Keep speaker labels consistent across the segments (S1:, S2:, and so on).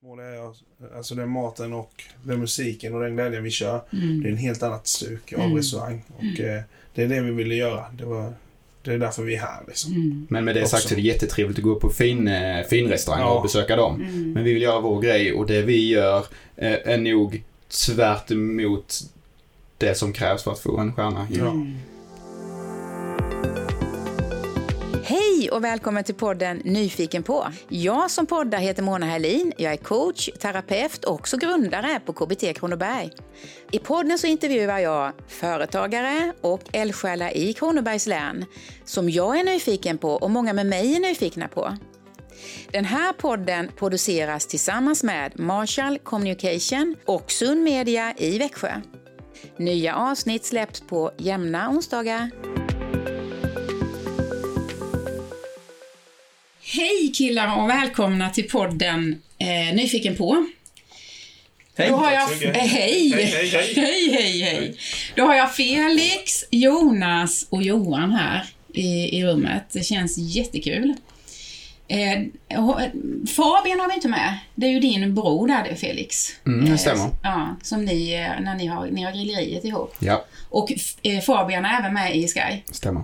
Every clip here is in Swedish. S1: Mål är jag, alltså den maten och den musiken och den glädjen vi kör. Det är en helt annat stuk av
S2: Mm.
S1: restaurang. Och eh, det är det vi ville göra. Det, var, det är därför vi är här liksom.
S2: Mm.
S3: Men med det sagt
S1: Också.
S3: så är det jättetrevligt att gå upp på fin, eh, finrestauranger
S1: Ja.
S3: och besöka dem.
S2: Mm.
S3: Men vi vill göra vår grej och det vi gör eh, är nog tvärt emot det som krävs för att få en stjärna.
S1: Ja.
S2: Mm.
S4: Hej och välkommen till podden Nyfiken på. Jag som poddar heter Mona Herlin. Jag är coach, terapeut och också grundare på KBT Kronoberg. I podden så intervjuar jag företagare och eldsjälar i Kronobergs län som jag är nyfiken på och många med mig är nyfikna på. Den här podden produceras tillsammans med Marshall Communication och Sun Media i Växjö. Nya avsnitt släpps på jämna onsdagar. Hej killar och välkomna till podden eh, Nyfiken på. Hej, Då har jag,
S1: tack så mycket.
S4: eh, hej.
S1: Hej, hej, hej.
S4: hej, hej, hej. Då har jag Felix, Jonas och Johan här i, i rummet. Det känns jättekul. Eh, och, eh, Fabian har vi inte med. Det är ju din bror där Felix.
S3: Mm, det
S4: Eh,
S3: stämmer.
S4: Ja, som ni, eh, när ni har, ni har grilleriet ihop.
S3: Ja,
S4: Och f- eh, Fabian är även med i Sky.
S3: stämmer.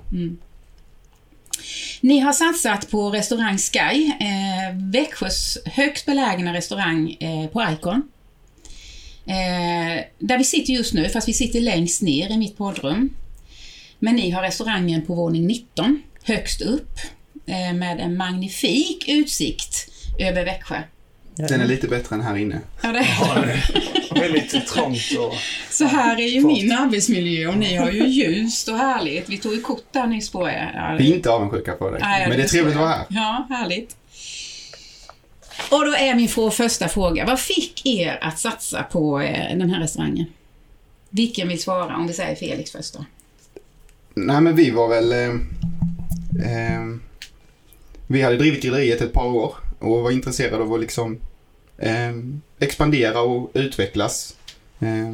S4: Ni har satsat på restaurang Sky, eh, Växjös högst belägna restaurang eh, på Icon. Eh, där vi sitter just nu, fast vi sitter längst ner i mitt poddrum. Men ni har restaurangen på våning 19, högst upp, eh, med en magnifik utsikt över Växjö.
S3: Den är lite bättre än här inne.
S4: Ja, det
S1: Ja, det är väldigt trångt och...
S4: Så här är ju min arbetsmiljö och ni har ju ljust och härligt. Vi tog ju kort där nyss på er. Ja,
S3: Vi är inte avundsjuka på dig,
S4: Nej,
S3: men det är
S4: förstår
S3: trevligt att
S4: jag.
S3: vara här.
S4: Ja, härligt. Och då är min frå- första fråga, vad fick er att satsa på eh, den här restaurangen? Vilken vill svara om vi säger Felix först då?
S3: Nej, men vi var väl... Eh, eh, vi hade drivit grilleriet ett par år och var intresserade av att liksom eh, expandera och utvecklas. Eh,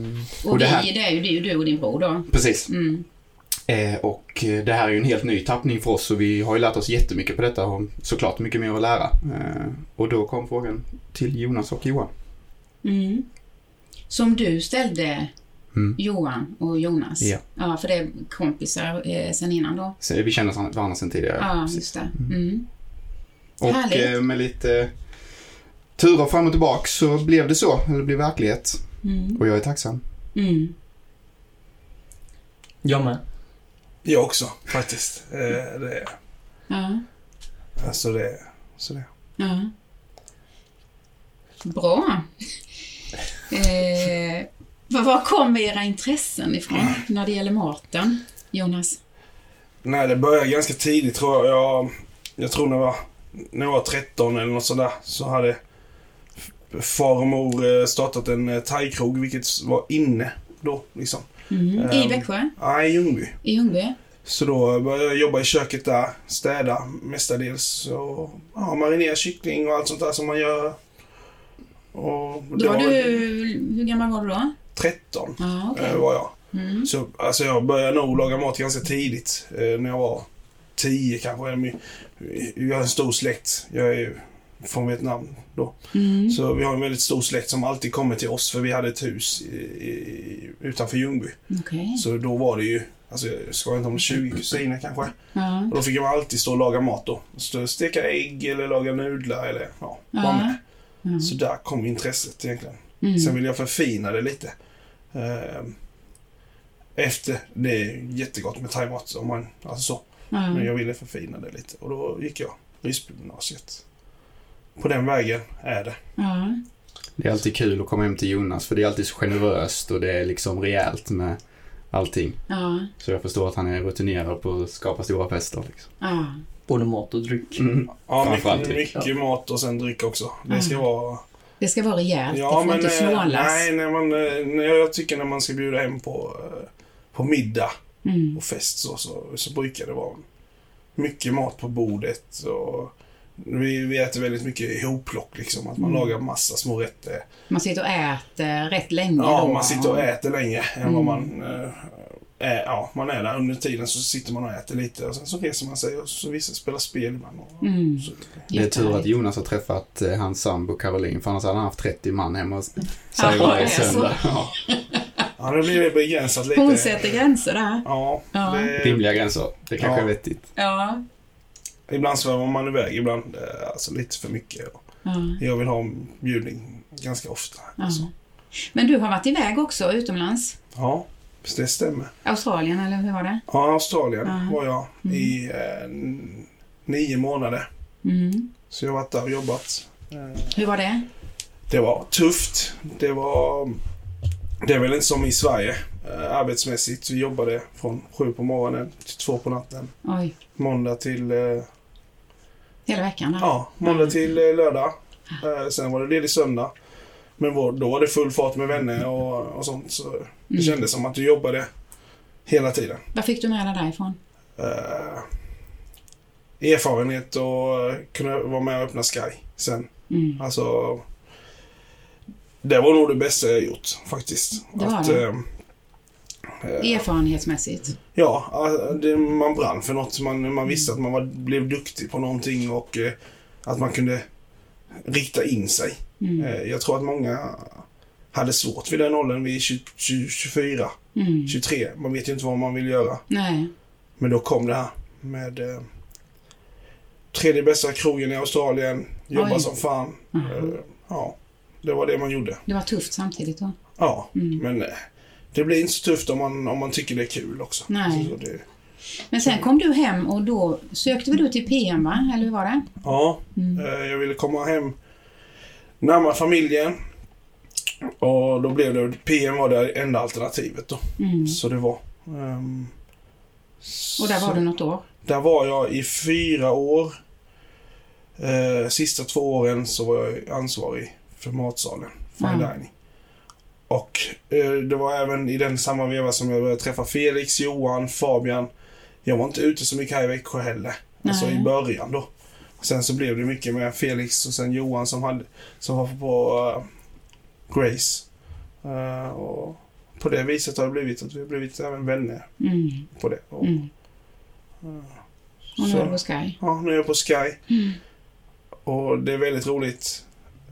S4: Och,
S3: och det
S4: vi,
S3: här,
S4: det är ju du, du och din bror då.
S3: precis.
S4: Mm.
S3: Eh, och eh, det här är ju en helt ny tappning för oss och vi har ju lärt oss jättemycket på detta och har såklart mycket mer att lära. Eh, och då kom frågan till Jonas och Johan.
S4: Mm. Som du ställde
S3: Mm.
S4: Johan och Jonas.
S3: Ja.
S4: ja för det är kompisar eh, sen innan då.
S3: Så vi känner san- varandra sedan tidigare.
S4: Ja,
S3: Precis.
S4: just det. Mm.
S3: och
S4: härligt.
S3: eh, med lite turer fram och tillbaka så blev det så, eller det blev verklighet.
S4: Mm.
S3: Och jag är tacksam.
S4: Mm.
S5: Jag med.
S1: Jag också faktiskt. Eh, det är,
S4: Ja,
S1: alltså det är, så det är.
S4: ja. Bra. Eh, var, var kommer era intressen ifrån
S1: Mm.
S4: när det gäller maten, Jonas?
S1: Nej, det började ganska tidigt tror jag. Jag, jag tror när jag, var, när jag var 13 eller något sådär så hade far och mor eh, startat en eh, thaikrog, vilket var inne då liksom.
S4: Mm. I
S1: Ehm.
S4: Växjö?
S1: Nej, i Ljungby.
S4: I Ljungby?
S1: Så då började jag jobba i köket där, städa mestadels och ja, marinera kyckling och allt sånt där som man gör. Och det
S4: Då var
S1: var
S4: du,
S1: väl
S4: hur gammal var du då?
S1: 13
S4: Ja, okej.
S1: eh, var jag.
S4: Mm.
S1: Så alltså jag började nog laga mat ganska tidigt. Eh, när jag var 10 kanske. Eller min- Jag har en stor släkt. Jag är ju från Vietnam då.
S4: Mm.
S1: Så vi har en väldigt stor släkt som alltid kommer till oss för vi hade ett hus i, i, utanför Ljungby.
S4: Mm. Okej.
S1: Så då var det ju, alltså jag skojar inte om 20 kusiner kanske.
S4: Ja.
S1: Och då fick jag alltid stå och laga mat då. Stå och steka ägg eller laga nudlar eller ja, vara
S4: Ja.
S1: med.
S4: Mm.
S1: Så där kom intresset egentligen.
S4: Mm.
S1: Sen vill jag förfina det lite. Ehm, Efter, det är jättegott med thaimat om man, alltså så.
S4: Ja.
S1: Men jag ville förfina det lite och då gick jag Ryssbygymnasiet. På den vägen är det.
S4: Ja.
S3: Det är alltid kul att komma hem till Jonas för det är alltid så generöst och det är liksom rejält med allting.
S4: Ja.
S3: Så jag förstår att han är rutinerad på att skapa stora fester. Liksom.
S4: Ja.
S5: Både mat och dryck.
S3: Mm.
S1: Ja,
S3: Framförallt
S1: mycket,
S3: dryck,
S1: mycket mat och sen dryck också. Det ska vara...
S4: Det ska vara rejält, det
S1: Ja,
S4: Mm. får
S1: men...
S4: inte
S1: eh,
S4: snålas.
S1: Nej, när man, eh, när jag tycker när man ska bjuda hem på, eh, på middag
S4: Mm.
S1: och fest så, så, så brukar det vara mycket mat på bordet. Och vi, vi äter väldigt mycket ihopplock liksom. Att man
S4: Mm.
S1: lagar massa små rätter.
S4: Man sitter och äter rätt länge
S1: Ja,
S4: då. Mm.
S1: man sitter och äter länge än vad man eh, Eh, ja, man är där under tiden så sitter man och äter lite och sen så reser man sig och så vissa spelar spel ibland. Och,
S6: Mm.
S1: så,
S3: Det är tur att Jonas har träffat eh, hans sambo Caroline, för annars hade han haft 30 man hemma hos sig
S4: Ja,
S3: varje
S4: alltså.
S3: söndag. Ja,
S1: ja, det blir begränsat lite.
S4: Hon sätter gränser där.
S1: Ja,
S4: Ja.
S1: det,
S3: rimliga gränser. Det kanske
S1: Ja.
S3: är vettigt.
S4: Ja.
S1: ibland svävar man iväg, ibland eh, alltså lite för mycket. Och
S4: ja.
S1: Jag vill ha en bjudning ganska ofta.
S4: ja.
S1: Alltså.
S4: Men du har varit iväg också utomlands?
S1: Ja, så det stämmer.
S4: Australien eller hur var det?
S1: Ja, Australien
S4: Ja.
S1: var jag i eh, n- nio månader.
S4: Mm.
S1: Så jag har varit där och jobbat.
S4: Hur var det?
S1: Det var tufft. Det var... Det är väl inte som i Sverige eh, arbetsmässigt. Vi jobbade från sju på morgonen till två på natten.
S4: Oj,
S1: Måndag till... Eh,
S4: hela veckan? där.
S1: ja, måndag till eh, lördag. Eh, sen var det ledig söndag. Men vår, då var det full fart med vänner och, och sånt. Så det
S4: Mm.
S1: kändes som att du jobbade hela tiden.
S4: Vad fick du med dig därifrån?
S1: eh, erfarenhet och eh, kunna vara med och öppna Sky sen.
S4: Mm.
S1: Alltså, det var nog det bästa jag gjort faktiskt.
S4: Det var det.
S1: eh, eh,
S4: Erfarenhetsmässigt?
S1: ja, eh, det, man brann för något. Man, man visste att man var, blev duktig på någonting och eh, att man kunde rikta in sig.
S4: Mm.
S1: Eh, jag tror att många hade svårt vid den åldern, vid 20, 20, 24,
S4: Mm.
S1: 23. Man vet ju inte vad man vill göra.
S4: Nej.
S1: Men då kom det här med eh, tredje bästa krogen i Australien, jobba
S4: Oj.
S1: som fan.
S4: Mhm.
S1: Eh, ja, det var det man gjorde.
S4: Det var tufft samtidigt då?
S1: Ja,
S4: Mm.
S1: men eh, det blir inte så tufft om man, om man tycker det är kul också.
S4: Nej.
S1: Så det,
S4: Men sen kom du hem och då sökte väl du till PM, va? Eller hur var det?
S1: ja,
S4: Mm.
S1: eh, jag ville komma hem närmare familjen. Och då blev det, PM var det enda alternativet då.
S4: Mm.
S1: Så det var. ehm,
S4: Och där var du något år?
S1: Där var jag i fyra år. Eh, sista två åren så var jag ansvarig för matsalen, fine
S4: Ja.
S1: dining. Och eh, det var även i den samma veva som jag började träffa Felix, Johan, Fabian. Jag var inte ute så mycket här i Växjö heller. Alltså
S4: Nej.
S1: i början då. Sen så blev det mycket med Felix och sen Johan som, hade, som var på eh, Grace. Eh, och på det viset har det blivit att vi har blivit även vänner
S4: Mm.
S1: på det. Och,
S4: Mm. Och nu
S1: så-
S4: är du på Sky?
S1: Ja, nu är jag på Sky.
S4: Mm.
S1: Och det är väldigt roligt.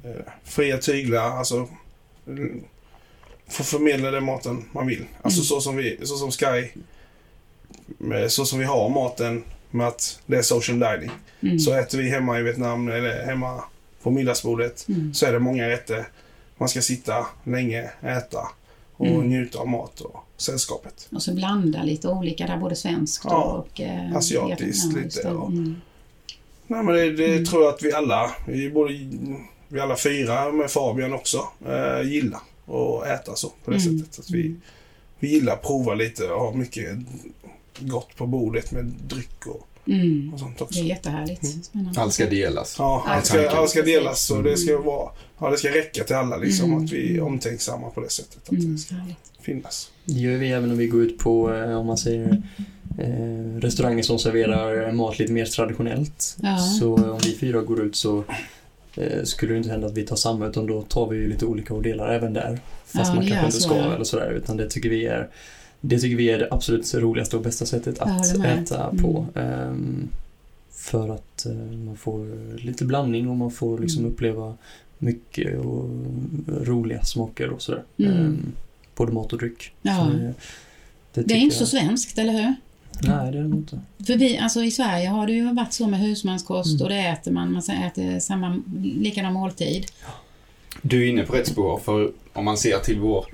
S1: Eh, Fria tyglar, alltså. mm, Få förmedla den maten man vill. Alltså
S4: Mm.
S1: så, som vi, så som Sky. med- Så som vi har maten med att det är social dining.
S4: Mm.
S1: Så äter vi hemma i Vietnam eller hemma på middagsbordet
S4: Mm.
S1: så är det många rätter. Man ska sitta länge, äta och
S4: Mm.
S1: njuta av mat och sällskapet.
S4: Och så blanda lite olika där, både svenskt
S1: Ja,
S4: och... Eh,
S1: asiatiskt
S4: vietnameskt.
S1: lite och-
S4: Mm.
S1: Nej men det, det tror jag att vi alla, vi, både, vi alla fyra med Fabian också, eh, gillar att äta så på det
S4: Mm.
S1: sättet. Att vi, vi gillar att prova lite och ha mycket gott på bordet med dryck och,
S4: Mm.
S1: och Mm. sånt
S4: Det
S1: också.
S4: är jättehärligt. Spännande.
S3: Allt ska delas.
S1: Ja,
S4: Ja,
S1: allt ska,
S3: tanken.
S1: allt ska delas och det ska vara, ja, det ska räcka till alla liksom.
S4: Mm.
S1: Att vi är omtänksamma på det sättet. Att
S4: Mm.
S1: det ska
S4: härligt.
S1: finnas.
S5: Det gör vi även om vi går ut på, eh, om man säger, eh, restauranger som serverar mat lite mer traditionellt.
S4: Ja.
S5: Så eh, om vi fyra går ut så eh, skulle det inte hända att vi tar samma utan då tar vi ju lite olika och delar även där. Fast
S4: Ja,
S5: man
S4: det
S5: kanske
S4: gör
S5: inte
S4: så,
S5: ska
S4: ja.
S5: eller sådär utan det tycker vi är det tycker vi är det absolut roligaste och bästa sättet
S4: Jag
S5: att
S4: håller med.
S5: äta
S4: Mm.
S5: på. Ehm, för att eh, man får lite blandning och man får liksom
S4: Mm.
S5: uppleva mycket och roliga smaker och sådär.
S4: Mm.
S5: Ehm, både mat och dryck.
S4: Ja.
S5: Så eh, det- det
S4: Det är
S5: tycker
S4: inte så
S5: jag-
S4: svenskt, eller hur?
S5: Nej, det är det nog inte.
S4: För vi, alltså i Sverige har det ju varit så med husmanskost
S5: Mm.
S4: och det äter man, man äter samma, likadan måltid.
S3: Du är inne på rätt spår, för om man ser till vår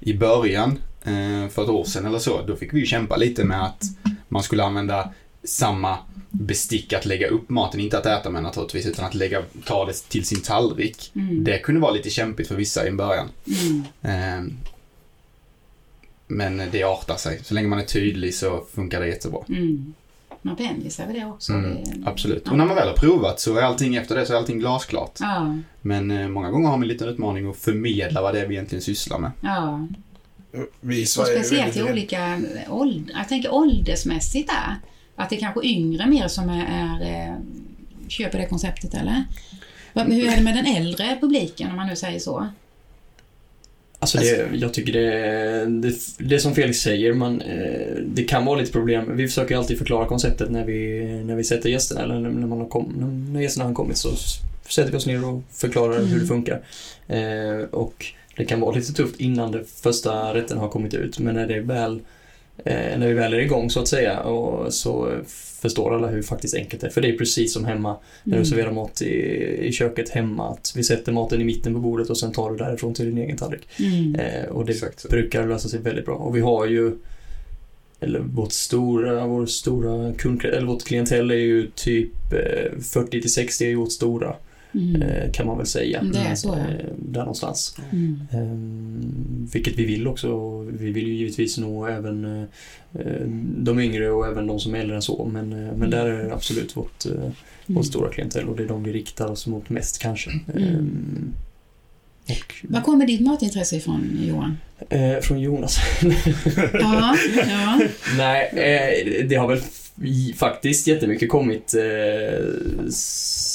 S3: i början, eh, för ett år sedan eller så, då fick vi ju kämpa lite med att man skulle använda samma bestick att lägga upp maten, inte att äta med naturligtvis, utan att lägga, ta det till sin tallrik.
S4: Mm.
S3: Det kunde vara lite kämpigt för vissa i början.
S4: Mm.
S3: Eh, Men det artar sig. Så länge man är tydlig så funkar det jättebra.
S4: Mm. Man vänjer sig vid det också.
S3: Mm,
S4: Det,
S3: absolut. Och när man väl har provat så är allting efter det så är allting glasklart.
S4: ja,
S3: Men eh, många gånger har man en liten utmaning att förmedla vad det är vi egentligen sysslar med.
S4: ja.
S1: Vi i
S4: Och
S1: Sverige är
S4: speciellt i
S1: väldigt rädda.
S4: olika ålder, jag tänker åldersmässigt där. Att det är kanske yngre mer som är, är, eh, köper det
S5: Mm.
S4: konceptet eller? Vad- Hur är det med den äldre publiken om man nu säger så?
S5: Alltså det, jag tycker det, det, det som Felix säger, man, eh, det kan vara lite problem. Vi försöker alltid förklara konceptet när vi, när vi sätter gästerna, eller när, när man har kom, när, när gästerna har kommit så s- sätter vi oss ner och förklarar
S4: Mm.
S5: hur det funkar. Eh, och det kan vara lite tufft innan den första rätten har kommit ut, men när det väl eh, när vi väl är igång så att säga och så förstår alla hur faktiskt enkelt det är. För det är precis som hemma när
S4: Mm.
S5: du serverar mat i, i köket hemma. Att vi sätter maten i mitten på bordet och sen tar du därifrån till din egen tallrik.
S4: Mm.
S5: Eh, och det
S3: Exakt så.
S5: brukar lösa sig väldigt bra. Och vi har ju eller vårt stora, vår stora kund, eller vårt klientel är ju typ eh, 40 till 60 är ju vårt stora
S4: Mm.
S5: eh, kan man väl säga.
S4: Det är så, ja.
S5: Eh, Där någonstans.
S4: Mm.
S5: Ehm, vilket vi vill också. Vi vill ju givetvis nå även eh, de yngre och även de som är äldre än så. Men, eh,
S4: Mm.
S5: men där är det absolut vårt, eh, vårt stora klientel och det är de vi riktar oss mot mest kanske. Ehm, och,
S4: Var kommer ditt matintresse ifrån, Johan?
S5: eh, från Jonas.
S4: Ja, ja.
S5: Nej, eh, det har väl f- i- faktiskt jättemycket kommit eh, s-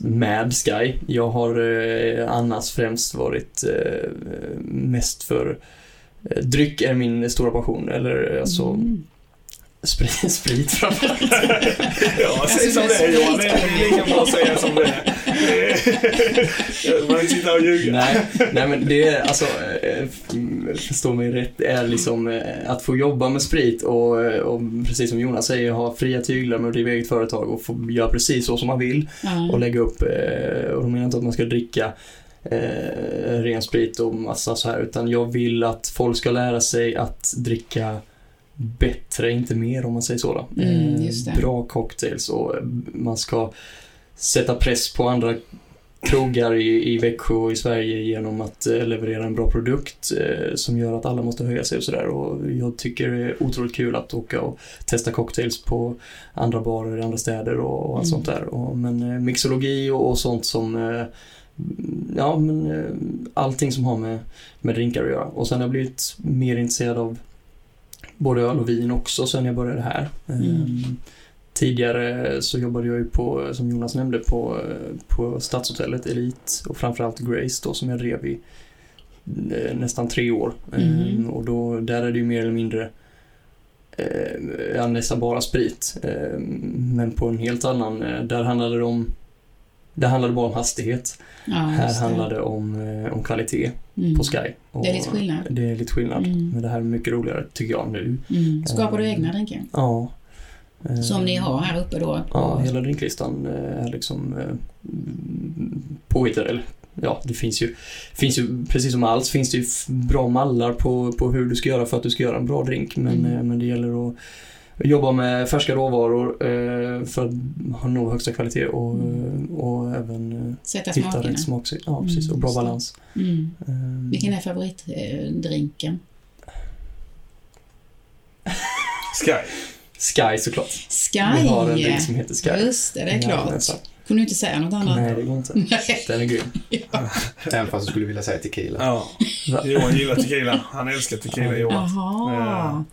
S5: med Sky. Jag har eh, annars främst varit eh, mest för eh, Dryck är min stora passion, eller eh, alltså
S4: Mm.
S5: sprit, sprit framförallt.
S1: Ja, säg som det är
S4: Alltså,
S1: Johan. Det är lika bra att säga som det är. Eh, Man sitter och ljuger.
S5: nej, nej, men det är alltså, eh, f- förstå mig rätt, är liksom eh, att få jobba med sprit och, eh, och precis som Jonas säger, ha fria tyglar med att driva eget företag och få göra precis så som man vill. och
S4: Ja.
S5: lägga upp, eh, och då menar jag inte att man ska dricka eh, ren sprit och massa så här, utan jag vill att folk ska lära sig att dricka bättre, inte mer om man säger så. Då.
S4: Mm,
S5: Eh,
S4: just det.
S5: bra cocktails och eh, man ska sätta press på andra krogar i, i Växjö och i Sverige genom att eh, leverera en bra produkt eh, som gör att alla måste höja sig och sådär. Och jag tycker det är otroligt kul att åka och testa cocktails på andra barer i andra städer och, och allt
S4: Mm.
S5: sånt där. Och, men eh, mixologi och, och sånt som eh, Ja, men eh, allting som har med, med drinkar att göra. Och sen har jag blivit mer intresserad av både öl och vin också sen jag började här.
S4: Mm.
S5: Ehm, Tidigare så jobbade jag ju på, som Jonas nämnde, på, eh, på Stadshotellet Elite och framförallt Grace då som jag drev i eh, nästan tre år.
S4: Mm.
S5: Ehm, Och då, där är det ju mer eller mindre eh, ja, nästan bara sprit. Ehm, men på en helt annan, eh, där handlade det om, där handlade det bara om hastighet.
S4: Ja,
S5: Här
S4: just det.
S5: handlar det om, eh, om kvalitet
S4: Mm.
S5: på Sky. Och
S4: Det är lite skillnad.
S5: Det är lite skillnad.
S4: Mm.
S5: Men det här är mycket roligare tycker jag nu.
S4: Mm. Skapar du
S5: Ehm,
S4: egna drinkar?
S5: Ja. Eh,
S4: Som ni har här uppe då?
S5: Ja, hela drinklistan eh, är liksom eh, påhittad. Eller ja, det finns ju, finns ju, precis som allt, finns det ju f- bra mallar på, på hur du ska göra för att du ska göra en bra drink. Men,
S4: Mm.
S5: eh, men det gäller att jobba med färska råvaror eh, för att ha nå högsta kvalitet och,
S4: Mm.
S5: och även eh,
S4: Sätta
S5: hitta
S4: smakerna?
S5: rätt smak. Ja, precis.
S4: Mm,
S5: Och bra
S4: just det.
S5: balans.
S4: Mm.
S5: Ehm,
S4: Vilken är favoritdrinken?
S1: Sky.
S5: Eh, Sky såklart.
S4: Sky!
S5: Vi har en drink som heter Sky.
S4: Just det, det är klart. Mm.
S5: Jajamensan.
S4: Kunde du inte säga något annat?
S5: Nej, det går inte.
S4: Nej.
S5: Den är grym.
S3: Även fast jag skulle vilja säga tequila.
S1: Ja. Johan gillar tequila. Han älskar tequila, Johan.
S4: Jaha.
S1: Ja.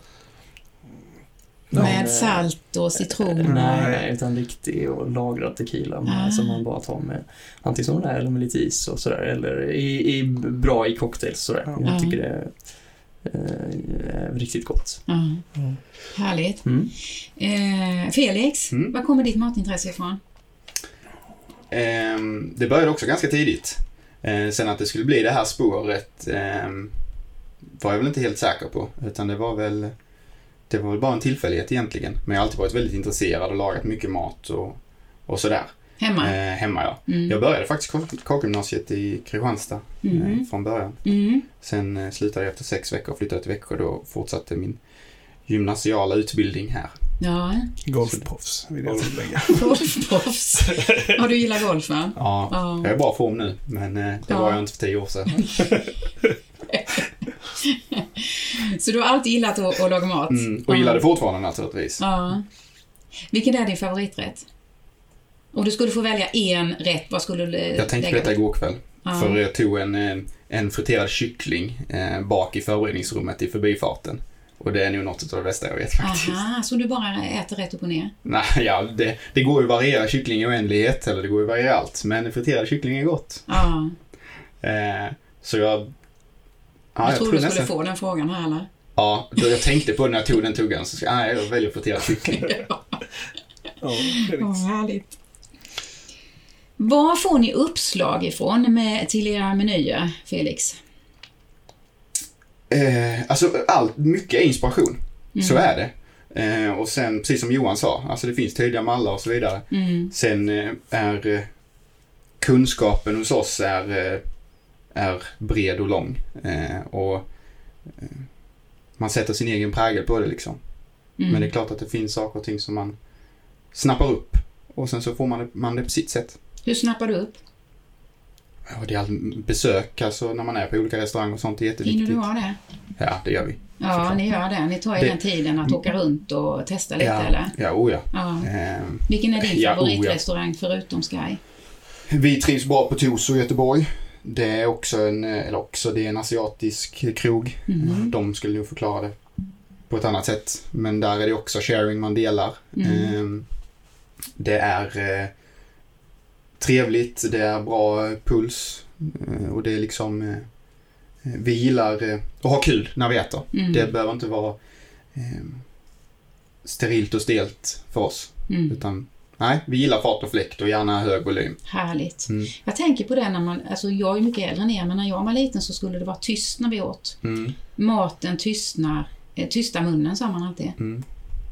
S5: Men, eh,
S4: Med salt och citron.
S5: Nej, nej, utan riktig och lagrad tequila med,
S4: Ah.
S5: som man bara tar med antingen som den är eller med lite is och sådär. Eller i, i, bra i cocktails sådär.
S1: Ja.
S5: Jag
S4: Ja.
S5: tycker det är, eh, är riktigt gott.
S4: Ja. Härligt.
S5: Mm.
S4: Eh, Felix,
S3: Mm.
S4: var kommer ditt matintresse ifrån?
S3: Ehm, det började också ganska tidigt. Eh, sen att det skulle bli det här spåret ehm, var jag väl inte helt säker på. Utan det var väl det var väl bara en tillfällighet egentligen. Men jag har alltid varit väldigt intresserad och lagat mycket mat och, och sådär.
S4: Hemma?
S3: Eh, hemma ja. Jag
S4: Mm.
S3: började faktiskt kock- kockgymnasiet i Kristianstad eh,
S4: Mm.
S3: från början.
S4: Mm.
S3: Sen eh, slutade jag efter sex veckor och flyttade till Växjö. Då fortsatte min gymnasiala utbildning här.
S4: Ja,
S1: Golfproffs vill jag tillägga.
S4: golfproffs. Ja, du gillar golf va?
S3: Ja,
S4: Ja.
S3: jag är i bra form nu, men eh, det
S4: Ja.
S3: var jag inte för tio år sedan.
S4: Så du har alltid gillat att, att laga mat?
S3: Mm, och gillar det fortfarande naturligtvis.
S4: Ja. Vilken är din favoriträtt? Om du skulle få välja en rätt, vad skulle du eh,
S3: Jag tänkte på
S4: lägga?
S3: detta igår kväll.
S4: Ja.
S3: För jag tog en, eh, en friterad kyckling eh, bak i förberedningsrummet i förbifarten. Och det är nog något av det bästa jag vet faktiskt.
S4: Aha, så du bara äter rätt upp och ner?
S3: Nej, ja, det, det går ju att variera kyckling i oändlighet, eller det går ju att variera allt. Men friterad kyckling är gott.
S4: Ja.
S3: Eh, så jag Ja,
S4: jag
S3: jag
S4: trodde
S3: tror
S4: du skulle
S3: nästan...
S4: få den frågan här eller?
S3: Ja, då jag tänkte på det när jag tog den tuggan. Så ska, nej, jag väljer friterad kyckling.
S1: Ja, det är
S4: Vad
S1: det.
S4: härligt. Var får ni uppslag ifrån med, till era menyer, Felix?
S3: Eh, alltså, allt, mycket är inspiration.
S4: Mm.
S3: Så är det. Eh, och sen, precis som Johan sa, alltså det finns tydliga mallar och så vidare.
S4: Mm.
S3: Sen eh, är eh, kunskapen hos oss är, eh, är bred och lång. Eh, Och eh, man sätter sin egen prägel på det liksom.
S4: Mm.
S3: Men det är klart att det finns saker och ting som man snappar upp. Och sen så får man det, man det på sitt sätt.
S4: Hur snappar du upp?
S3: Ja, det är all besök, alltså när man är på olika restauranger och sånt, det är
S4: Hinner
S3: jätteviktigt.
S4: du ha det?
S3: Ja, det gör vi.
S4: Ja,
S3: Såklart.
S4: ni gör det. Ni tar er
S3: Det-
S4: den tiden att åka runt och testa lite, eller?
S3: Ja, ja, oh ja.
S4: Ja.
S3: Ehm,
S4: Vilken är din
S3: Ja, oh, ja.
S4: favoritrestaurang förutom Sky?
S3: Vi trivs bra på Toso i Göteborg. Det är också en, eh, eller också, det är en asiatisk krog.
S4: Mhm.
S3: De skulle nog förklara det på ett annat sätt. Men där är det också sharing man delar.
S4: Mm.
S3: Ehm, Det är eh, trevligt, det är bra eh, puls eh, och det är liksom eh, vi gillar eh, att ha kul när vi äter.
S4: Mm.
S3: Det behöver inte vara eh, sterilt och stelt för oss.
S4: Mm.
S3: Utan nej, vi gillar fart och fläkt och gärna hög volym.
S4: Härligt.
S3: Mm.
S4: Jag tänker på det när man, alltså jag är mycket äldre än er, men när jag var liten så skulle det vara tyst när vi åt.
S3: Mm,
S4: Maten tystnar, eh, tysta munnen sa man alltid.
S3: mm.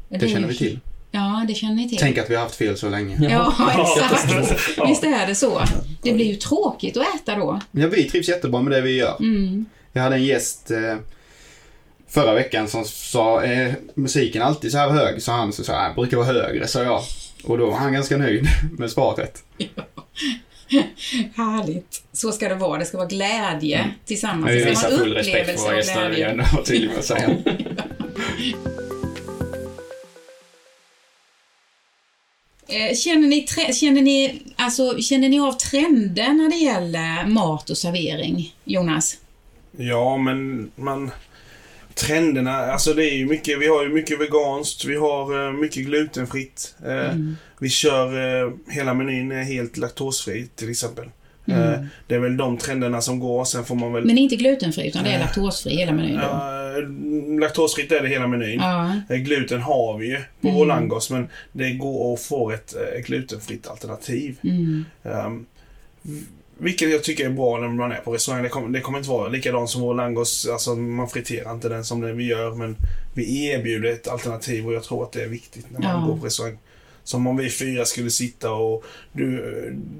S4: Det, är
S3: Det
S4: ju-
S3: känner vi till.
S4: Ja, det känner ni till.
S3: Tänk att vi har haft fel så länge.
S4: Ja, exakt.
S1: katastrof.
S4: Visst är det så. Det blir ju tråkigt att äta då.
S3: Ja, vi trivs jättebra med det vi gör.
S4: Mm.
S3: Jag hade en gäst eh, förra veckan som sa eh, musiken alltid så här hög, sa han. Så sa jag, brukar vara högre, sa jag. Och då var han ganska nöjd med svaret.
S4: Härligt. Så ska det vara. Det ska vara glädje tillsammans.
S3: Men Mm. vi
S4: Det
S3: visar
S4: ska vara en
S3: full respekt för
S4: upplevelse
S3: våra
S4: av
S3: gäster, vill
S4: glädje.
S3: jag ändå vara tydlig med att säga.
S4: Eh, Känner ni, tre- känner, ni, alltså, känner ni av trender när det gäller mat och servering, Jonas?
S1: Ja, men man... Trenderna, alltså det är ju mycket, vi har ju mycket veganskt, vi har eh, mycket glutenfritt. Eh,
S4: Mm.
S1: Vi kör, eh, hela menyn är helt laktosfri till exempel. Eh,
S4: Mm.
S1: det är väl de trenderna som går, sen får man väl...
S4: Men inte glutenfri, utan det är laktosfri hela menyn då? Ja.
S1: Eh, laktosfritt är det hela menyn. Eh, Gluten har vi ju på
S4: Mm.
S1: Rolangos men det går att få ett eh, glutenfritt alternativ.
S4: Mm.
S1: Ehm, v- vilket jag tycker är bra när man är på restaurang. Det kommer, det kommer inte vara likadant som Rolangos. Alltså man friterar inte den som det vi gör men vi erbjuder ett alternativ och jag tror att det är viktigt när man
S4: Ja.
S1: går på restaurang. Som om vi fyra skulle sitta och du,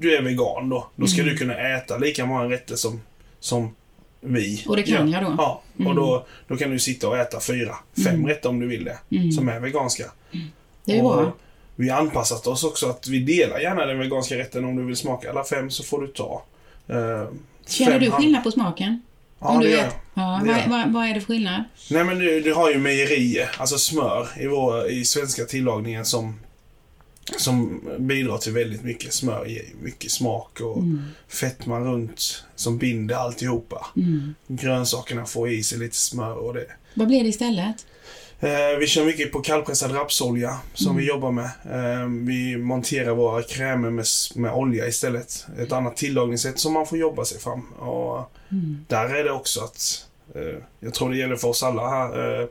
S1: du är vegan då. Då ska
S4: Mm.
S1: du kunna äta lika många rätter som, som vi.
S4: Och det kan
S1: gör.
S4: jag Mm. då?
S1: Ja, och då, då kan du sitta och äta fyra, fem
S4: Mm.
S1: rätter om du vill det. Som är veganska.
S4: Det är ju
S1: Och
S4: bra.
S1: Vi har anpassat oss också att vi delar gärna den veganska rätten. Om du vill smaka alla fem så får du ta. Eh,
S4: Känner
S1: fem
S4: du
S1: hand-
S4: skillnad på smaken?
S1: Ja,
S4: du
S1: det gör
S4: vet-
S1: jag.
S4: Ja,
S1: Det gör
S4: vad,
S1: jag.
S4: vad, vad är det för skillnad?
S1: Nej men du, du har ju mejerier, alltså smör i, vår, i svenska tillagningen som, som bidrar till väldigt mycket. Smör ger ju mycket smak och
S4: Mm.
S1: fetma runt som binder alltihopa.
S4: Mm.
S1: Grönsakerna får i sig lite smör och det.
S4: Vad blir det istället?
S1: Eh, vi kör mycket på kallpressad rapsolja som vi jobbar med. Eh, vi monterar våra krämer med, s- med olja istället. Ett annat tillagningssätt som man får jobba sig fram. Och
S4: Mm.
S1: Där är det också att, eh, jag tror det gäller för oss alla här, eh,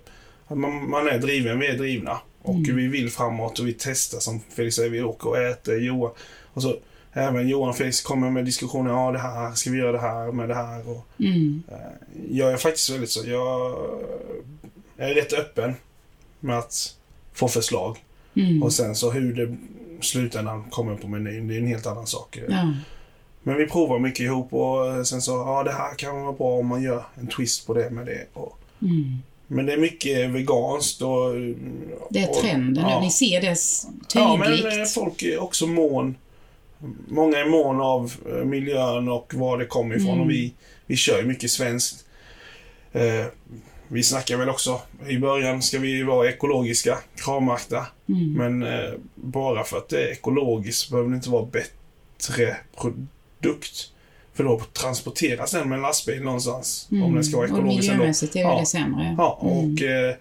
S1: att man, man är driven, vi är drivna. Och vi vill framåt och vi testar som Felix säger, vi åker och äter. Johan, och så, även Johan och Felix kommer med diskussioner, ja det här, ska vi göra det här med det här? Och,
S4: Mm.
S1: Eh, jag är faktiskt väldigt så. Jag är rätt öppen med att få förslag.
S4: Mm.
S1: Och sen så hur det i slutändan kommer på menyn, det är en helt annan sak.
S4: Ja.
S1: Men vi provar mycket ihop och sen så, ja det här kan vara bra om man gör en twist på det med det. Och,
S4: Mm.
S1: men det är mycket veganskt och...
S4: Det är
S1: och-
S4: trenden,
S1: ja.
S4: ni ser det s-
S1: Ja, men eh,
S4: tydligt.
S1: folk är också mån. Många är mån av eh, miljön och var det kommer ifrån.
S4: Mm.
S1: Och vi, vi kör ju mycket svenskt. Eh, vi snackar väl också, i början ska vi vara ekologiska, kravmärkta.
S4: Mm.
S1: Men eh, bara för att det är ekologiskt behöver det inte vara bättre produkt. För då transporteras den med en lastbil någonstans. Om den ska vara
S4: Mm. och
S1: ekologisk ändå.
S4: miljömässigt är ju
S1: Ja.
S4: det sämre.
S1: Ja,
S4: Mm.
S1: och eh,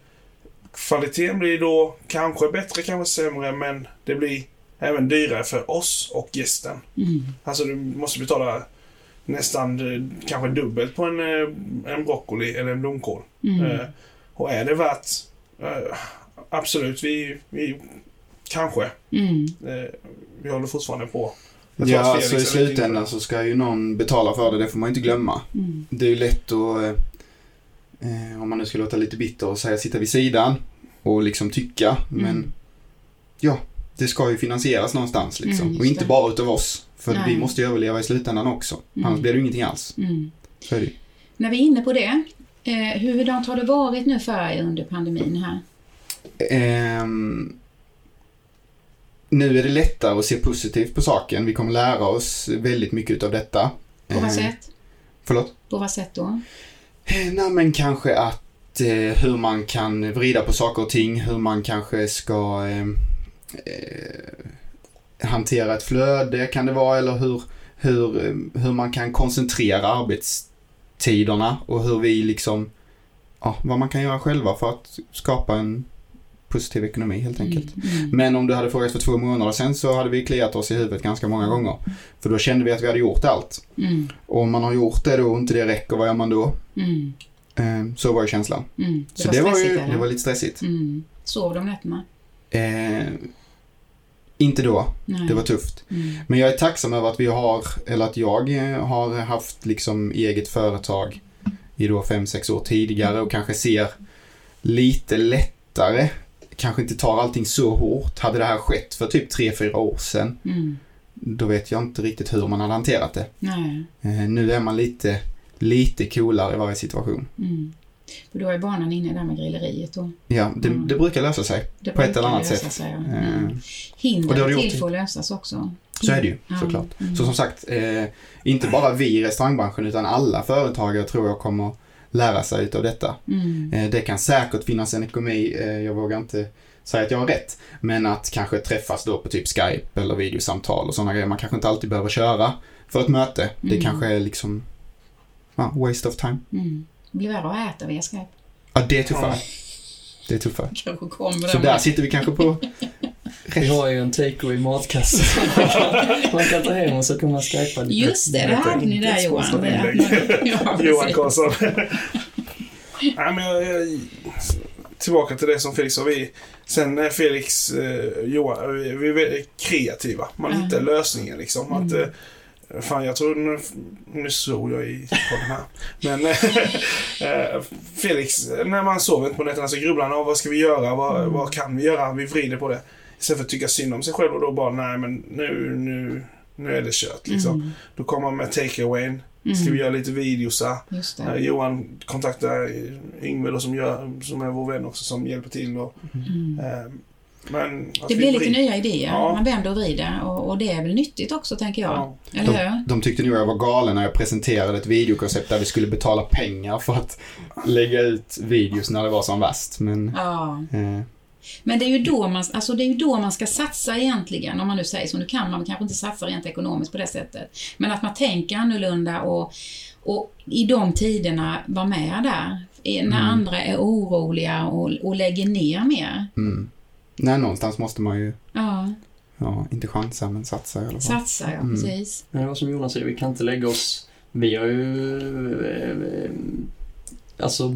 S1: kvaliteten blir då kanske bättre, kanske sämre, men det blir även dyrare för oss och gästen.
S4: Mm.
S1: Alltså du måste betala nästan eh, kanske dubbelt på en, eh, en broccoli eller en blomkål.
S4: Mm.
S1: Eh, och är det värt... Eh, absolut, vi, vi... Kanske.
S4: Mm.
S1: Eh, vi håller fortfarande på. Jag tror
S3: Ja,
S1: att Felix
S3: alltså i
S1: är lite inne-
S3: slutändan så ska ju någon betala för det, det får man ju inte glömma.
S4: Mm.
S3: Det är ju lätt att, eh, eh, om man nu ska låta lite bitter och säga sitta vid sidan och liksom tycka, men
S4: Mm.
S3: ja, det ska ju finansieras någonstans liksom.
S4: Mm, just
S3: och inte
S4: det.
S3: bara utav oss, för
S4: Nej.
S3: vi måste ju överleva i slutändan också.
S4: Mm.
S3: Annars blir det ju ingenting alls.
S4: Mm.
S3: Så är det ju.
S4: När vi är inne på det, eh, hurdant har det varit nu för er under pandemin här?
S3: Ehm, nu är det lättare att se positivt på saken. Vi kommer lära oss väldigt mycket utav detta.
S4: På vad
S3: Ehm,
S4: sätt?
S3: Förlåt?
S4: På vad sätt då?
S3: Eh, Nej men kanske att eh, hur man kan vrida på saker och ting, hur man kanske ska eh, eh, hantera ett flöde kan det vara eller hur, hur, eh, hur man kan koncentrera arbetstiderna och hur vi liksom, ja, vad man kan göra själva för att skapa en positiv ekonomi helt enkelt.
S4: Mm.
S3: Men om du hade frågat för två månader sedan så hade vi kliat oss i huvudet ganska många gånger. För då kände vi att vi hade gjort allt.
S4: Mm.
S3: Och om man har gjort det då och inte det räcker, vad gör man då?
S4: Mm.
S3: Eh, Så var ju känslan.
S4: Mm.
S3: så det var, ju,
S4: stressigt, eller?
S3: det var lite stressigt.
S4: Mm. Sov de nätterna?
S3: Eh, inte då,
S4: Nej.
S3: det var tufft.
S4: Mm.
S3: Men jag är tacksam över att vi har, eller att jag eh, har haft liksom eget företag i då 5-6 år tidigare och kanske ser lite lättare, kanske inte tar allting så hårt. Hade det här skett för typ 3-4 år sedan,
S4: Mm.
S3: då vet jag inte riktigt hur man hade hanterat det.
S4: Nej.
S3: Eh, nu är man lite, lite coolare i varje situation.
S4: Mm. För då är barnen inne där med grilleriet då.
S3: Ja, det,
S4: Mm.
S3: det brukar lösa sig.
S4: Det
S3: På ett eller
S4: brukar
S3: annat
S4: lösa
S3: sätt.
S4: sig, ja.
S3: Eh,
S4: Mm. Hinder
S3: och det har
S4: och
S3: det gjort
S4: till
S3: till-
S4: får lösas också.
S3: Så är det ju
S4: Ja.
S3: såklart.
S4: Mm.
S3: Så som sagt, eh, inte bara vi i restaurangbranschen utan alla företagare tror jag kommer lära sig utav detta.
S4: Mm.
S3: Eh, det kan säkert finnas en ekonomi, eh, jag vågar inte säga att jag har rätt, men att kanske träffas då på typ Skype eller videosamtal och sådana grejer. Man kanske inte alltid behöver köra för ett möte. Det
S4: Mm.
S3: kanske är liksom ja, waste of time.
S4: Mm. Det blir värre att äta via Skype.
S3: Ja, det är tuffare. Det är tuffare.
S4: Kanske kommer
S3: Så
S4: den
S3: där
S4: med.
S3: sitter vi kanske på
S5: Vi har ju en takeaway matkasse. man, kan, man kan ta hem och så kan man skypa lite.
S4: Just det, det hade ni där Johan.
S1: sponsrat
S4: Ja.
S1: inlägg. Johan
S4: Ja, precis.
S1: Karlsson. Nej, men jag, jag, tillbaka till det som Felix sa. Vi, sen är Felix, eh, Johan, vi, vi är väldigt kreativa. Man
S4: Mm.
S1: hittar lösningen liksom. Att, eh, fan, jag tror nu, nu såg jag i podden här. Men eh, eh, Felix, när man sover inte på nätterna så grubblar han av vad ska vi göra? Vad,
S4: Mm.
S1: vad kan vi göra? Vi vrider på det. Istället för att tycka synd om sig själv och då bara, nej men nu, nu, nu är det kört liksom.
S4: Mm.
S1: Då kommer man med take-awayn. Ska vi
S4: Mm.
S1: göra lite videosar?
S4: Just
S1: Eh,
S4: det.
S1: Johan kontaktar Yngve då, som, gör, som är vår vän också som hjälper till. Och,
S4: Mm.
S1: eh, men att
S4: Det
S1: vi
S4: blir lite
S1: vrider-
S4: nya idéer.
S1: Ja.
S4: Man vänder och vrider och, och det är väl nyttigt också tänker jag.
S1: Ja.
S4: Eller hur?
S3: De tyckte nog jag var galen när jag presenterade ett videokoncept där vi skulle betala pengar för att lägga ut videos när det var som värst. Men,
S4: Ja.
S3: eh,
S4: Men det är, ju då man, alltså det är ju då man ska satsa egentligen, om man nu säger så. Nu kan man kanske inte satsa rent ekonomiskt på det sättet. Men att man tänker annorlunda och, och i de tiderna vara med där. I- När andra är oroliga och, och lägger ner mer.
S3: mm. Nej, någonstans måste man ju,
S4: Ja,
S3: ja, inte chansa men satsa i alla fall.
S4: satsa ja,
S3: Mm.
S4: precis.
S5: Men det var som Jonas säger, vi kan inte lägga oss. Vi har ju... eh, Alltså,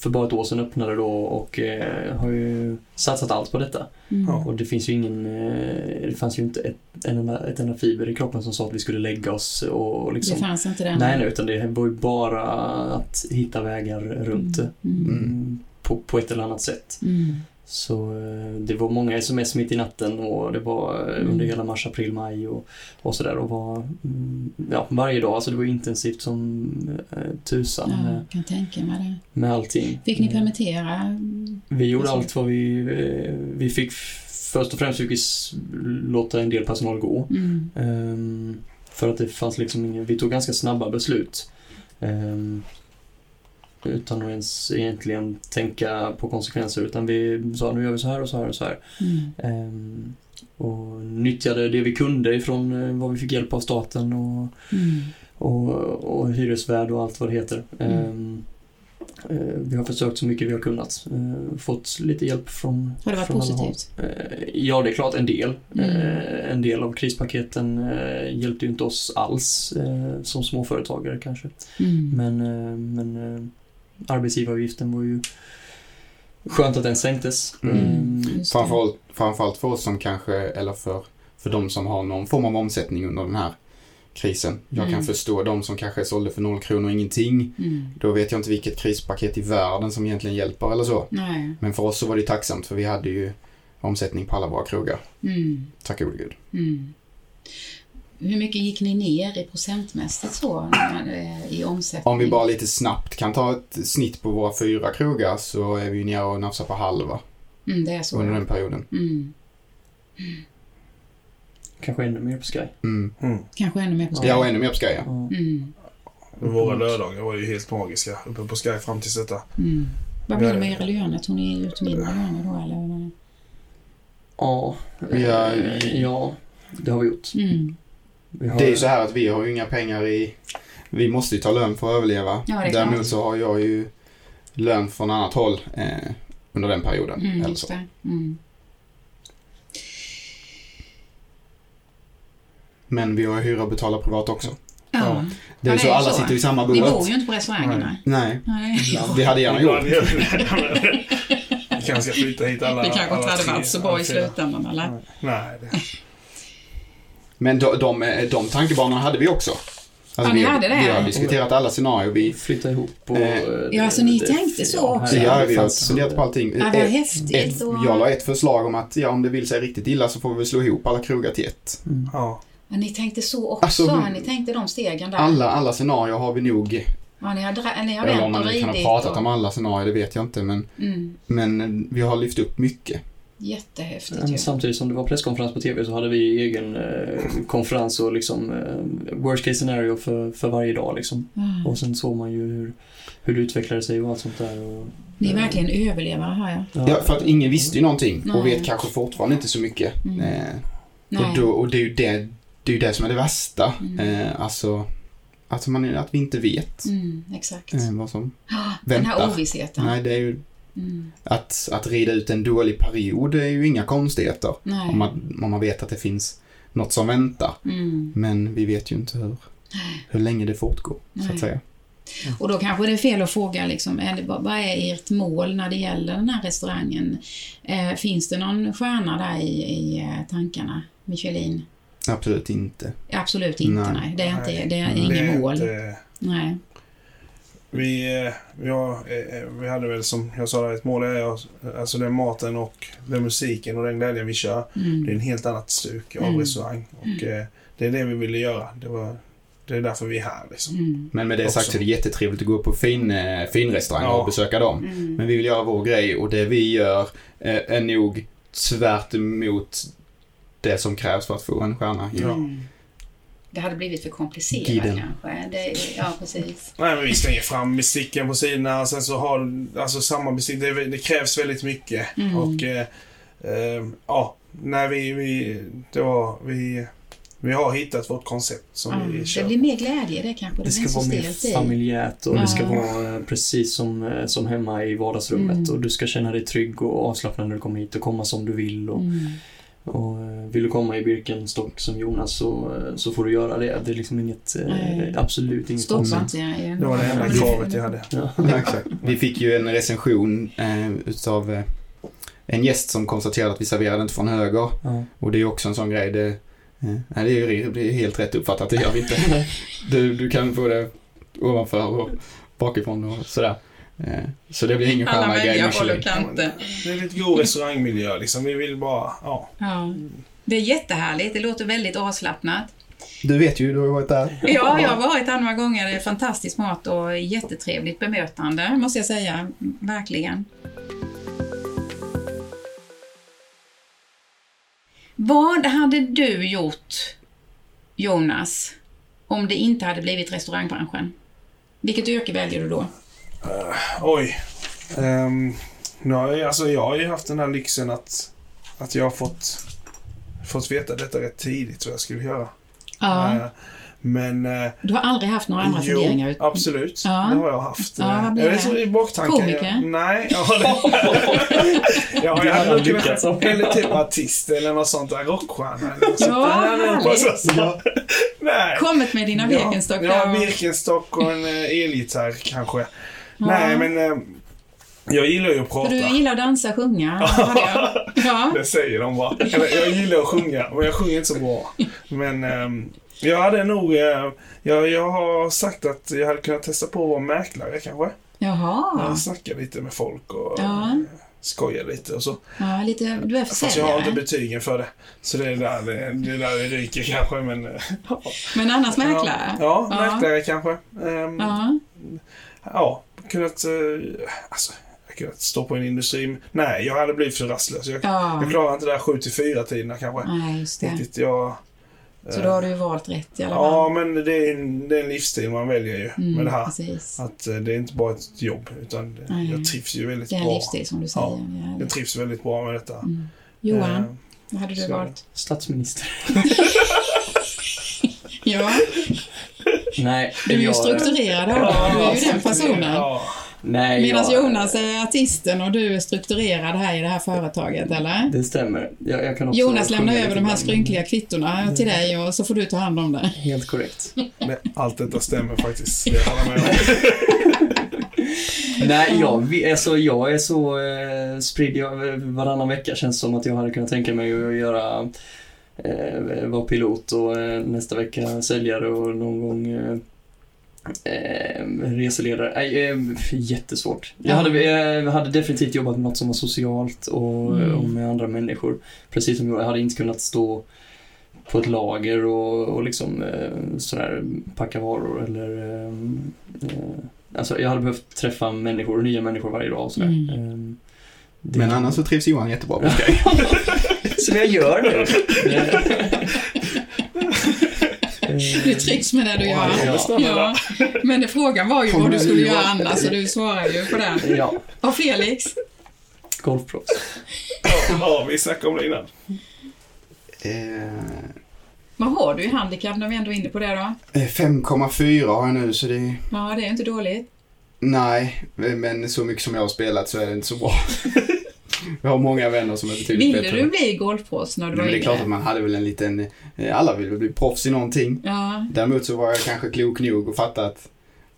S5: för bara ett år sedan öppnade då och eh, har ju satsat allt på detta.
S4: Mm.
S1: Ja.
S5: Och det finns ju ingen... eh, Det fanns ju inte ett, en enda, ett enda fiber i kroppen som sa att vi skulle lägga oss och, och liksom...
S4: Det fanns inte den.
S5: Nej, nej, utan det var ju bara att hitta vägar runt det.
S4: Mm.
S5: Mm, På, på ett eller annat sätt.
S4: Mm.
S5: Så eh, det var många sms mitt i natten och det var eh,
S4: Mm.
S5: under hela mars, april, maj och, och sådär. Och var, mm, ja, varje dag, alltså det var ju intensivt som eh, tusan
S4: Ja,
S5: med,
S4: jag kan tänka mig det.
S5: med allting.
S4: Fick ni
S3: Mm.
S5: Eh,
S4: permittera? Mm.
S5: Vi gjorde
S4: Alltså-
S5: allt vad vi, eh, vi fick. f- Först och främst fick vi s- låta en del personal gå.
S4: Mm.
S5: Ehm, för att det fanns liksom ingen, vi tog ganska snabba beslut. Ehm, utan att ens egentligen tänka på konsekvenser utan vi sa nu gör vi så här och så här och så här.
S4: Mm.
S5: Ehm, och nyttjade det vi kunde ifrån eh, vad vi fick hjälp av
S4: mm.
S5: staten och, och, och hyresvärd och allt vad det heter.
S4: Mm.
S5: Ehm, Eh, Vi har försökt så mycket vi har kunnat. eh, Fått lite hjälp från
S4: Har det varit
S5: från alla håll.
S4: positivt?
S5: Eh, Ja, det är klart en del.
S4: Mm.
S5: Eh, En del av krispaketen eh, hjälpte ju inte oss alls eh, som småföretagare kanske.
S4: Mm.
S5: Men, eh, men eh, arbetsgivaravgiften var ju skönt att den sänktes.
S3: Mm.
S5: Eh,
S4: just det.
S3: Framförallt, framförallt för oss som kanske, eller för, för de som har någon form av omsättning under den här krisen. Jag kan
S4: Mm.
S3: förstå de som kanske sålde för noll kronor och ingenting.
S4: Mm.
S3: Då vet jag inte vilket krispaket i världen som egentligen hjälper eller så.
S4: Nej.
S3: Men för oss så var det ju tacksamt för vi hade ju omsättning på alla våra krogar.
S4: Mm.
S3: Tack gode gud.
S4: Mm. Hur mycket gick ni ner i procentmässigt så när man, eh, i omsättning?
S3: Om vi bara lite snabbt kan ta ett snitt på våra fyra krogar så är vi ju nere och nafsar på halva
S4: Mm, det är så.
S3: under
S4: ja.
S3: den perioden.
S4: Mm.
S5: Kanske ännu mer på Sky.
S3: Mm.
S1: Mm.
S4: Kanske ännu mer på
S3: Ja, och ännu mer på Sky, ja.
S5: Ja.
S4: Mm.
S1: Våra lördagar var ju helt magiska uppe på Sky fram tills detta.
S4: Mm. Vad blir det
S1: Ja.
S4: med era löner? Tog ni ut mindre löner då eller? vad?
S5: Ja,
S3: Ja,
S5: eh, ja, det har vi gjort.
S4: Mm.
S5: Vi har,
S3: Det är ju så här att vi har ju inga pengar i... Vi måste ju ta lön för att överleva.
S4: Ja, det är klart.
S3: Däremot så har jag ju lön från annat håll eh, under den perioden.
S4: Mm,
S3: eller
S4: just
S3: så.
S4: det. Mm.
S3: Men vi har ju hyra att betala privat också.
S4: Ja.
S3: Ja.
S4: Ja,
S3: Det är ju
S4: det
S3: så,
S4: är
S3: alla
S4: så.
S3: sitter i samma
S4: Ni
S3: båt.
S4: bor ju inte på restaurangerna.
S3: Nej,
S4: Nej.
S3: vi hade gärna gjort.
S1: Vi kanske ska flytta hit alla
S4: det kanske inte
S1: alla
S4: hade
S1: tre,
S4: varit så
S1: alla
S4: bra i
S1: fyra.
S4: slutändan eller?
S1: Nej, det...
S3: Men de, de, de tankebanorna hade vi också. Alltså,
S4: Ja, ni
S3: vi,
S4: hade det?
S3: vi har diskuterat alla scenarier. Vi,
S5: flytta ihop och...
S3: Eh,
S5: eh,
S4: Ja, så ni
S5: det-
S4: tänkte så
S5: ja,
S4: också?
S5: här-
S3: ja, vi har
S5: fanns-
S3: funderat på allting.
S4: Ja, vad
S3: Ett-
S4: häftigt.
S3: ett,
S4: och-
S3: jag la ett förslag om att ja, om det vill sig riktigt illa så får vi slå ihop alla krogar till ett.
S5: Mm.
S1: Ja.
S4: Ja, ni tänkte så också?
S3: Alltså,
S4: ni tänkte de stegen där?
S3: Alla, alla scenarier har vi nog
S4: Ja, ni har, dra- ni har
S3: Eller
S4: vänt
S3: om man
S4: och
S3: kan ha
S4: ridit?
S3: pratat
S4: och-
S3: om alla scenarier, det vet jag inte. Men,
S4: Mm,
S3: men eh, vi har lyft upp mycket.
S4: jättehäftigt
S5: Men
S4: ju.
S3: Alltså,
S5: Samtidigt som det var presskonferens på TV så hade vi egen eh, konferens och liksom eh, worst case scenario för, för varje dag liksom.
S4: Ja.
S5: Och sen såg man ju hur, hur det utvecklade sig och allt sånt där. Och,
S4: Ni är verkligen överlevare hör jag.
S3: Ja, för att ingen visste ju någonting
S4: Nej.
S3: och vet kanske fortfarande inte så mycket.
S4: Mm.
S3: Eh,
S4: Nej.
S3: och, då, och det är ju det, det, är ju det som är det värsta.
S4: Mm.
S3: Eh, alltså att, man, att vi inte vet
S4: Mm, exakt.
S3: eh, vad som...
S4: Ah, Den
S3: vänta.
S4: här ovissheten. Nej.
S3: Nej, det är ju
S4: Mm,
S3: att, att rida ut en dålig period det är ju inga konstigheter.
S4: nej.
S3: Om man, om man vet att det finns något som väntar.
S4: Mm,
S3: Men vi vet ju inte hur, hur länge det fortgår, så
S4: Nej.
S3: att säga.
S4: och då kanske det är fel att fråga liksom, är det, vad vad är ert mål när det gäller den här restaurangen? Eh, finns det någon stjärna där i, i eh, tankarna? Michelin?
S3: Absolut inte.
S4: Absolut inte, nej.
S3: Nej.
S4: Det är, inte, det är
S3: Nej.
S1: Det
S4: inget
S1: är
S4: mål.
S1: inte-
S4: Nej.
S1: Vi, eh, vi, har, eh, vi hade väl som jag sa, där, ett mål är att- alltså den maten och den musiken och den glädjen vi kör. Det är
S4: Mm.
S1: en helt annat stuk av
S4: Mm.
S1: restaurang. Och eh, det är det vi ville göra. Det, var, det är därför vi är här liksom.
S4: Mm.
S3: Men med det sagt
S1: Också.
S3: så är det jättetrevligt att gå upp på fin, eh, finrestauranger
S1: Ja.
S3: och besöka dem.
S4: Mm.
S3: Men vi vill göra vår grej och det vi gör eh, är nog tvärt emot det som krävs för att få en stjärna.
S1: Ja.
S4: Mm. Det hade blivit för komplicerat
S3: Guiden.
S4: kanske. Det, ja, precis.
S1: Nej, men vi slänger fram besticken på sidorna. och Sen så har alltså samma bestick. Det, det krävs väldigt mycket.
S4: Mm.
S1: Och eh, eh, ja, när vi, vi, det var, vi, vi har hittat vårt koncept som
S4: Ja,
S1: vi
S4: det
S1: kör.
S4: blir mer glädje det kanske. Det,
S5: Det
S4: blir
S5: ska
S4: inte
S5: vara
S4: så
S5: mer
S4: stelt i.
S5: familjärt och det ska
S4: Ja.
S5: vara eh, precis som, eh, som hemma i vardagsrummet
S4: Mm.
S5: och du ska känna dig trygg och avslappnad när du kommer hit och komma som du vill. Och,
S4: Mm.
S5: och, eh, vill du komma i Birkenstock som Jonas så, eh, så får du göra det. Det är liksom inget, eh,
S4: Nej.
S5: absolut inget
S4: Stoppa
S5: konstigt.
S4: inte Mm. jag igen.
S1: Det var det enda
S4: Men
S1: kravet jag hade.
S5: Ja.
S3: Ja, exakt. Vi fick ju en recension eh, utav eh, en gäst som konstaterade att vi serverade inte från höger.
S5: Ja.
S3: Och det är också en sån grej. Det, eh, nej, det, är, ju- det är helt rätt uppfattat, det gör vi inte. Du, du kan få det ovanför och bakifrån och sådär. Eh, så det blir ingen
S4: Alla
S3: stjärna i Guide
S4: välja håll
S3: Michelin.
S4: och kanter.
S1: Det är lite god restaurangmiljö liksom. Vi vill bara, ja.
S4: Ja. Det är jättehärligt. Det låter väldigt avslappnat.
S3: Du vet ju, du har ju varit där.
S4: Ja, jag har varit här några gånger. Det är fantastisk mat och jättetrevligt bemötande, måste jag säga. Verkligen. Vad hade du gjort, Jonas, om det inte hade blivit restaurangbranschen? Vilket yrke väljer du då?
S1: Oj. Ehm, nu har jag, alltså jag har ju haft den här lyxen att, att jag har fått, fått veta detta rätt tidigt vad jag skulle göra. Eh, Men... Eh,
S4: Du har aldrig haft några andra
S1: jo,
S4: funderingar? ut-
S1: absolut.
S4: Ja.
S1: Det har jag haft.
S4: Ja, vad blir
S1: är det
S4: det?
S1: så i baktanken?
S4: Komiker?
S1: Nej. Jag har, jag har,
S5: Det
S1: jag
S5: hade
S1: hade nog
S5: han
S1: kunnat-
S5: lyckats med.
S1: Eller typ artist eller något sånt. där, Rockstjärna eller något sånt.
S4: Ja, härligt.
S1: Ja. Nej.
S4: Kommit med dina Birkenstock
S1: Ja,
S4: där
S1: ja
S4: och-
S1: Birkenstock och en eh, elgitarr kanske. Nej, men eh, jag gillar ju att
S4: För
S1: prata.
S4: du gillar att dansa, sjunga, hörde jag. Ja.
S1: Det säger de bara. Eller, jag gillar att sjunga, men jag sjunger inte så bra. Men ehm, jag hade nog... eh, jag, jag har sagt att jag hade kunnat testa på att vara mäklare kanske.
S4: Jaha.
S1: Jag snackar lite med folk och
S4: Ja.
S1: eh, skojar lite och så.
S4: Ja, lite, du är
S1: Fast jag har inte
S4: försäljare.
S1: betygen för det. Så det är där det, det, är där det ryker kanske. Men, eh,
S4: Men annars mäklare?
S1: Ja,
S4: Ja.
S1: mäklare kanske. Ehm,
S4: Ja.
S1: Ja, kunnat... Eh, alltså, jag kunnat stå på en industri. Nej, jag hade blivit för rastlös. Jag,
S4: Ja.
S1: jag klarar inte det där 7 till 4 tiderna kanske.
S4: Nej, just det.
S1: Riktigt, jag... eh,
S4: Så då har du ju valt rätt i alla fall.
S1: Ja, men det är, en, det är en livsstil man väljer ju
S4: Mm,
S1: med det här.
S4: Precis.
S1: Att eh, det är inte bara ett jobb, utan det-
S4: Nej.
S1: jag trivs ju väldigt
S4: Det är en
S1: bra.
S4: livsstil som du säger.
S1: Ja.
S4: Ja.
S1: Jag trivs väldigt bra med detta.
S4: Mm. Johan,
S1: Eh,
S4: vad hade du
S1: så-
S4: valt?
S5: Statsminister.
S4: Ja,
S5: Nej,
S4: du är ju
S5: jag-
S4: strukturerad av dig. Du är ju den personen.
S1: Ja,
S5: Nej,
S4: Medan
S5: jag-
S4: Jonas är artisten och du är strukturerad här i det här företaget, eller?
S5: Det stämmer. Jag, jag kan också
S4: Jonas lämnar
S5: sjunga
S4: över
S5: lite
S4: de här
S5: ibland.
S4: skrynkliga kvittorna till dig och så får du ta hand om det.
S5: Helt korrekt.
S1: men allt detta stämmer faktiskt. Det håller jag med om.
S5: Nej, jag, vi- alltså, jag är så eh, spridd. Jag, varannan vecka känns som att jag hade kunnat tänka mig att göra eh, vara pilot och eh, nästa vecka säljare och någon gång eh, eh, reseledare. Nej, eh, jättesvårt. Jag hade, jag hade definitivt jobbat med något som var socialt och,
S4: Mm.
S5: och med andra människor. Precis som jag, jag hade inte kunnat stå på ett lager och, och liksom eh, sådär packa varor eller eh, eh, Alltså jag hade behövt träffa människor, nya människor varje dag och sådär.
S4: Mm.
S5: Eh, det-
S3: Men annars så trivs Johan jättebra på Skype.
S5: Som jag gör nu.
S4: Du trivs med det du gör.
S5: Ja,
S4: Ja, men frågan var ju vad du skulle göra annars så du svarar ju på den.
S5: Eh, Ja,
S4: Och Felix?
S5: golfproffs.
S1: Ja, ja, vi snackade om det innan.
S3: Eh,
S4: Vad har du i handikapp när vi ändå är inne på det då?
S3: Eh, 5,4 har jag nu så det är...
S4: Ja, det är inte dåligt.
S3: Nej, eh, men så mycket som jag har spelat så är det inte så bra. jag har många vänner som är betydligt
S4: Ville
S3: bättre.
S4: du bli golfproffs när du
S3: Nej,
S4: var
S3: men det är klart
S4: yngre?
S3: att man hade väl en liten... eh, Alla vill väl bli proffs i någonting.
S4: Ja,
S3: Däremot så var jag kanske klok nog och fatta att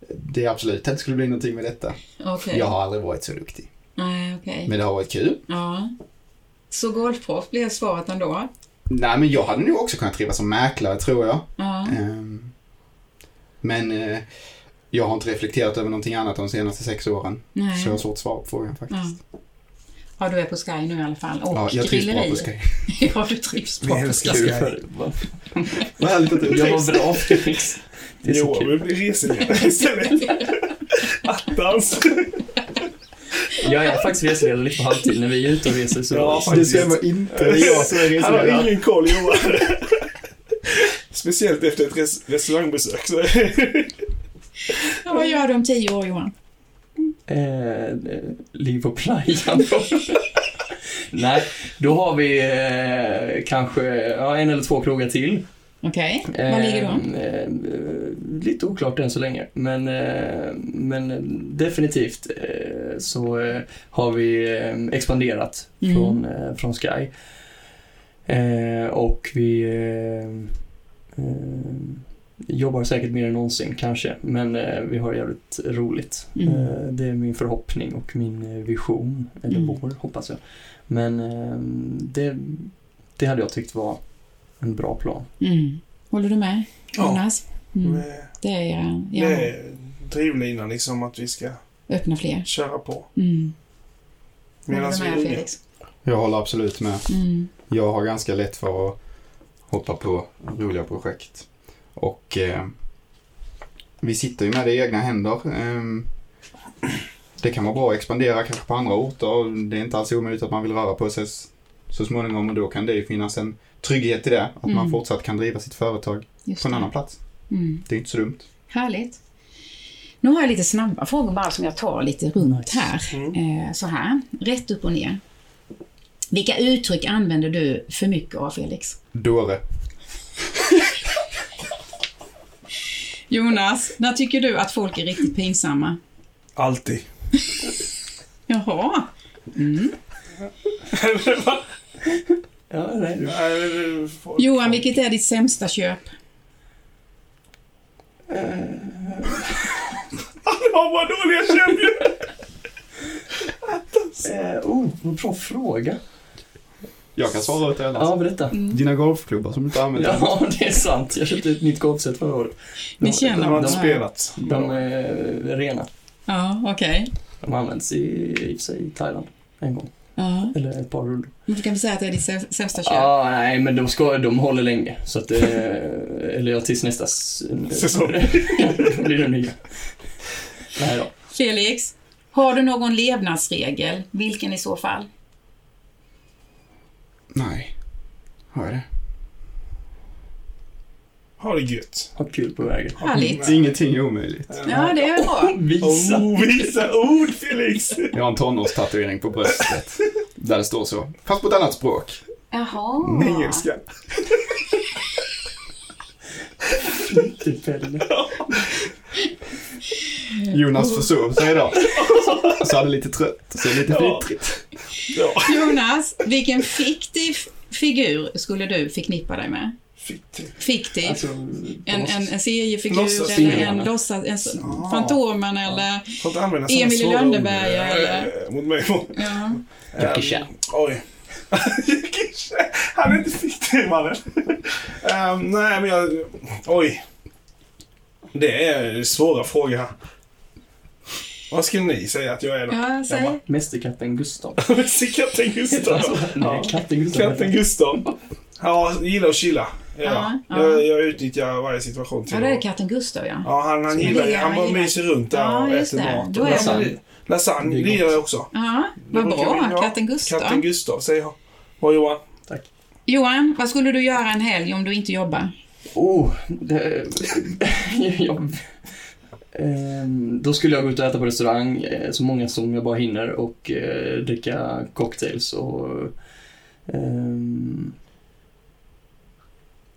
S3: det absolut inte skulle bli någonting med detta.
S4: okej.
S3: Jag har aldrig varit så duktig.
S4: Nej, okej.
S3: Men det har varit
S4: Mm.
S3: kul.
S4: Ja. Så golfproffs blev svaret ändå?
S3: Nej, men jag hade nog också kunnat trivas som mäklare, tror jag.
S4: Ja.
S3: Ehm, Men eh, jag har inte reflekterat över någonting annat de senaste sex åren.
S4: Nej.
S3: Så jag har svårt att svara på frågan faktiskt.
S4: Ja, du är på Sky nu i alla fall. Och
S3: Ja, jag trivs bra på
S4: grilleri.
S3: Skype.
S4: ja, du trivs
S1: Vi
S4: bra på
S1: älskar
S4: Sky.
S5: Kul
S1: Skype.
S5: för va?
S3: Vad härligt att du
S5: Jag var bra Felix. Det är så
S1: Johan
S5: kul.
S1: vill bli reseledare istället. Attans!
S5: Jag är faktiskt reseledare lite på halvtid. När vi är ute och reser så...
S1: Ja,
S5: så-
S1: faktiskt.
S3: inte
S1: Han har ingen koll Johan. Speciellt efter ett res- restaurangbesök. Så.
S4: Ja, vad gör du om tio år, Johan?
S5: Eh, eh, liv på playan. Nej, då har vi eh, kanske ja, en eller två krogar till.
S4: Okej, var ligger de?
S5: Ehm, eh, lite oklart än så länge, men, eh, men definitivt eh, så eh, har vi eh, expanderat
S4: Mm.
S5: från, eh, från Sky. Eh, och vi eh, eh, jobbar säkert mer än någonsin kanske, men eh, vi har jävligt roligt.
S4: Mm.
S5: Eh, det är min förhoppning och min eh, vision, eller
S4: Mm.
S5: vår hoppas jag. Men eh, det, det hade jag tyckt var en bra plan.
S4: Mm. Håller du med,
S1: Ja.
S4: Jonas? Mm. Det är era,
S1: Det
S4: era
S1: är drivlinan liksom att vi ska
S4: öppna fler.
S1: köra på.
S4: Mm.
S1: Medan
S4: Håller du
S1: vi är
S4: med,
S1: unga.
S4: Felix?
S3: Jag håller absolut med.
S4: Mm.
S3: Jag har ganska lätt för att hoppa på roliga projekt. Och eh, vi sitter ju med det i egna händer. Ehm, det kan vara bra att expandera kanske på andra orter. Det är inte alls omöjligt att man vill röra på sig s- så småningom och då kan det ju finnas en trygghet i det. Att man
S4: Mm.
S3: fortsatt kan driva sitt företag
S4: Just
S3: på en
S4: det.
S3: annan plats.
S4: Mm.
S3: Det är inte så dumt.
S4: Härligt. Nu har jag lite snabba frågor bara som jag tar lite runt här.
S1: Mm.
S4: Eh, så här, rätt upp och ner. Vilka uttryck använder du för mycket av, Felix?
S3: Dåre.
S4: Jonas, när tycker du att folk är riktigt pinsamma?
S1: Alltid.
S4: Jaha. Mm.
S5: Ja,
S1: Mm.
S5: nej.
S4: Johan, vilket är ditt sämsta köp?
S5: Eh,
S1: Ja, vad dåliga köp ju!
S5: Eh, oh, vad bra fråga.
S3: Jag kan svara åt dig annars.
S5: Ja, berätta.
S3: Dina golfklubbar som du inte använder.
S5: Ja, det är sant. Jag köpte ett nytt golfset förra året.
S4: Ni
S1: Den
S4: känner
S1: har
S4: varandra.
S1: inte spelat.
S5: De är rena.
S4: Ja, okej.
S5: De används i, i och för sig i Thailand en gång.
S4: Ja.
S5: Eller ett par rullor.
S4: Men du kan väl säga att det är ditt sä- sämsta köp?
S5: Ja, nej, men de, ska, de håller länge. Så att, eh, eller ja, tills nästa s-
S1: Säsong.
S5: Då blir det nya. Nej då.
S4: Felix, har du någon levnadsregel? Vilken i så fall?
S3: Nej. Har jag det?
S1: Ha det gött. Mm.
S5: Ha kul på vägen.
S4: Härligt.
S3: Det är ingenting omöjligt.
S4: Ja, det är bra.
S5: Visa.
S1: Oh, visa ord Felix!
S3: Jag har en tonårstatuering på bröstet. Där det står så. Fast på ett annat språk.
S4: Jaha.
S1: Engelska.
S5: Flyttepelle.
S4: Mm.
S3: Jonas försov sig idag. Så han är lite trött. Så är det lite
S1: Ja.
S3: fnittrigt.
S1: Ja.
S4: Jonas, vilken fiktiv figur skulle du förknippa dig med?
S1: Fitt.
S4: Fiktiv.
S5: Alltså,
S4: en, en, en seriefigur
S1: Låtsas-
S4: eller en
S5: Fingrarna.
S4: låtsas... En, s-
S1: Ah.
S4: Fantomen eller...
S1: Får inte använda såna
S4: Emil i
S1: svåra
S4: Lönneberga,
S1: ord, eh,
S4: eller?
S1: Mot mig.
S4: Ja.
S5: Jackie Chan.
S1: Ehm, Oj. Jackie Chan. Han är inte fiktiv mannen. Ehm, nej men jag... Oj. Det är svåra frågor här. Vad skulle ni säga att jag är då?
S4: Ja, säg.
S1: Emma.
S5: Mästerkatten Gustav.
S1: Se katten Gustav.
S5: Alltså, nej, katten Gustav.
S1: Katten Gustav. Ja, gillar att chilla. Ja.
S4: Ja, ja.
S1: Jag, jag utnyttjar varje situation till
S4: Ja, det är
S1: att-
S4: katten Gustav, ja.
S1: Ja, han, han gillar ju.
S4: gillar-
S1: Han bara
S4: han gillar-
S1: myser runt där
S4: Ja,
S1: och
S4: just
S1: äter
S4: det.
S1: mat.
S4: Då är
S5: Lasagne.
S1: Lasagne
S5: Det är gott.
S1: gillar jag också.
S4: Ja, vad
S1: Det brukar vi
S4: bra.
S1: ha.
S4: Katten Gustav.
S1: Katten Gustav, säger jag. Och Johan?
S4: Johan, vad skulle du göra en helg om du inte jobbar?
S5: Oh, det, jag, ehm, då skulle jag gå ut och äta på restaurang, eh, så många som jag bara hinner, och eh, dricka cocktails och... ehm,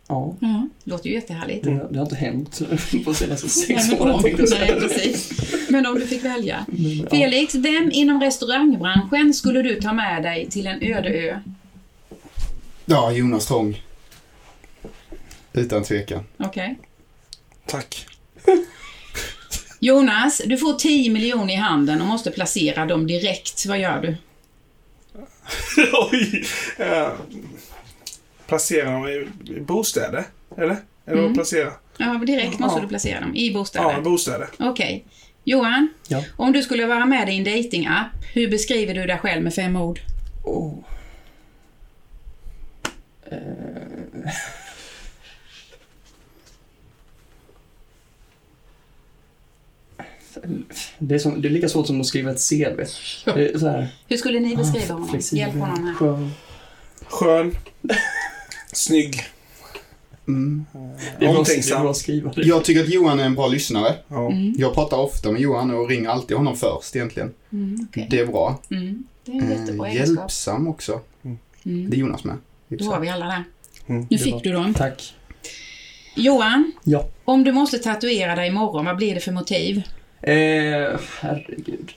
S5: ja,
S4: Ja. Låter ju jättehärligt.
S5: det, det har inte hänt på senaste
S4: Nej,
S5: Mm. sex
S4: men,
S5: åren
S4: om,
S5: tänkte jag
S4: nej,
S5: säga.
S4: precis. men om du fick välja.
S5: Men, ja.
S4: Felix, vem inom restaurangbranschen skulle du ta med dig till en öde ö?
S3: Ja, Jonas Trång. Utan tvekan.
S4: Okej.
S1: Tack.
S4: Jonas, du får 10 miljoner i handen och måste placera dem direkt. Vad gör du?
S1: Oj! Eh, Placerar dem i i bostäder? Eller? Eller
S4: Mm.
S1: vad placera?
S4: Ja, direkt måste
S1: Ja.
S4: du placera dem i
S1: Ja,
S4: bostäder.
S1: i bostäder.
S4: Okej. Johan,
S5: Ja.
S4: om du skulle vara med i en datingapp, hur beskriver du dig själv med fem ord?
S5: Oh. Eh, Det är, som, det är lika svårt som att skriva ett CV. Det är så här,
S4: Hur skulle ni beskriva honom?
S5: flexibel,
S4: Hjälp honom här.
S5: skön.
S1: Skön. Snygg.
S3: Mm.
S5: Det är bra- det är
S1: Omtänksam.
S5: bra att skriva. Det.
S3: Jag tycker att Johan är en bra lyssnare.
S1: Ja.
S4: Mm.
S3: Jag pratar ofta med Johan och ringer alltid honom först egentligen.
S4: Mm, okej.
S3: Det är bra.
S4: mm. Det är en jättebra
S3: Eh,
S4: egenskap.
S3: hjälpsam också.
S4: Mm.
S3: Det är Jonas med.
S4: Då har vi alla där.
S1: Mm,
S4: nu
S5: det
S4: fick
S5: var-
S4: du dem.
S5: Tack.
S4: Johan,
S5: Ja.
S4: om du måste tatuera dig imorgon, vad blir det för motiv?
S5: Eh, herregud.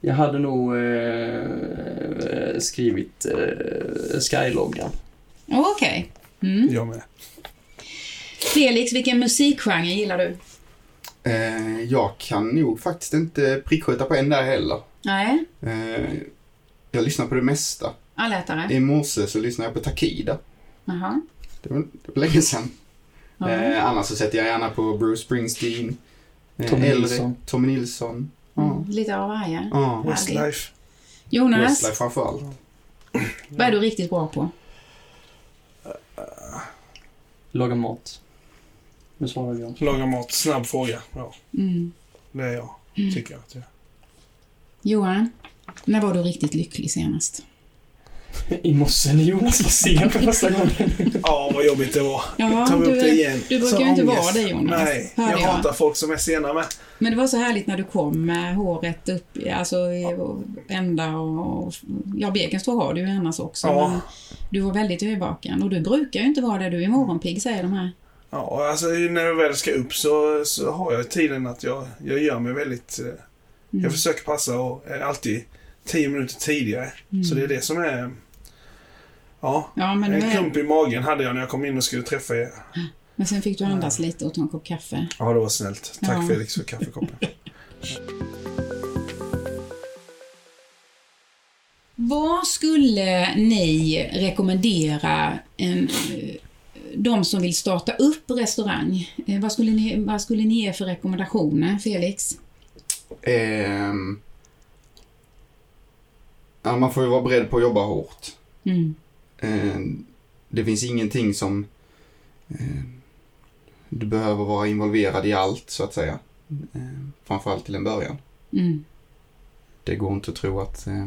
S5: Jag hade nog eh, skrivit eh, Skyloggan.
S4: Okej. Mm.
S1: Jag med.
S4: Felix, vilken musikgenre gillar du?
S3: Eh, jag kan nog faktiskt inte prickskjuta på en där heller.
S4: Nej,
S3: Eh, jag lyssnar på det mesta.
S4: allätare.
S3: I morse så lyssnade jag på Takida.
S4: Jaha.
S3: Det var, det var länge sedan.
S4: Ja.
S3: Eh, annars så sätter jag gärna på Bruce Springsteen. Eh,
S5: Tommy
S3: äldre,
S5: Nilsson.
S3: Tommy Nilsson. Ja.
S4: Mm. Lite av varje.
S3: Ja.
S1: Westlife.
S4: Jonas,
S3: Westlife framförallt.
S4: vad är du riktigt bra på?
S5: Laga mat. Nu svarar jag.
S1: Laga mat. Snabb fråga. Ja,
S4: Mm.
S1: det är jag. Tycker jag. att jag är.
S4: Johan, när var du riktigt lycklig senast?
S5: I morse när Jonas var sen för första gången.
S1: Ja, vad jobbigt det var.
S4: Ja,
S1: Tar vi upp
S4: du-
S1: det igen.
S4: du brukar
S1: Så
S4: ju inte vara
S1: ångest.
S4: det, Jonas.
S1: Nej,
S4: Hörde
S1: jag
S4: jag.
S1: hatar folk som är sena med.
S4: Men det var så härligt när du kom med håret upp, alltså i- och ända och... och- Ja, Birkenstå har du ju annars också.
S1: Ja.
S4: Men du var väldigt övervaken och du brukar ju inte vara det. Du är morgonpigg, säger de här. Mm.
S1: Ja, alltså när jag väl ska upp så, så har jag tiden att jag, jag gör mig väldigt... eh,
S4: Mm.
S1: Jag försöker passa och är alltid 10 minuter tidigare.
S4: Mm.
S1: Så det är det som är... Ja,
S4: Ja, men, nu
S1: en
S4: är,
S1: klump i magen hade jag när jag kom in och skulle träffa er.
S4: men sen fick du andas lite och ta en kopp kaffe.
S1: Ja, det var snällt. Tack
S4: Ja.
S1: Felix för kaffekoppen.
S4: Vad skulle ni rekommendera en, eh, de som vill starta upp restaurang? Eh, Vad skulle ni, vad skulle ni ge för rekommendationer, Felix?
S3: Ehm, ja, man får ju vara beredd på att jobba hårt.
S4: Mm.
S3: Ehm, det finns ingenting som ehm, du behöver vara involverad i allt så att säga. Ehm, framförallt till en början.
S4: Mm.
S3: Det går inte att tro att, eh,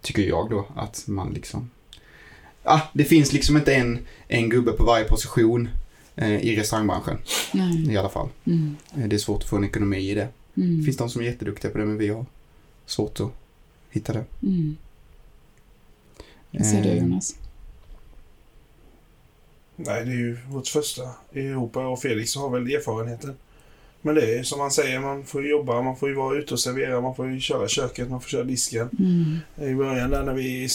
S3: tycker jag då, att man liksom... Ah, det finns liksom inte en, en gubbe på varje position eh, i restaurangbranschen
S4: Nej.
S3: i alla fall.
S4: Mm.
S3: Eh, Det är svårt att få en ekonomi i det. Det
S4: Mm.
S3: finns de som är jätteduktiga på det men vi har svårt att hitta det.
S4: Mm. Vad säger du,
S3: Ehm,
S4: Jonas?
S1: Nej, det är ju vårt första i Europa och Felix har väl erfarenheten. Men det är ju som han säger, man får ju jobba, man får ju vara ute och servera, man får ju köra köket, man får köra disken.
S4: Mm.
S1: I början där när vi...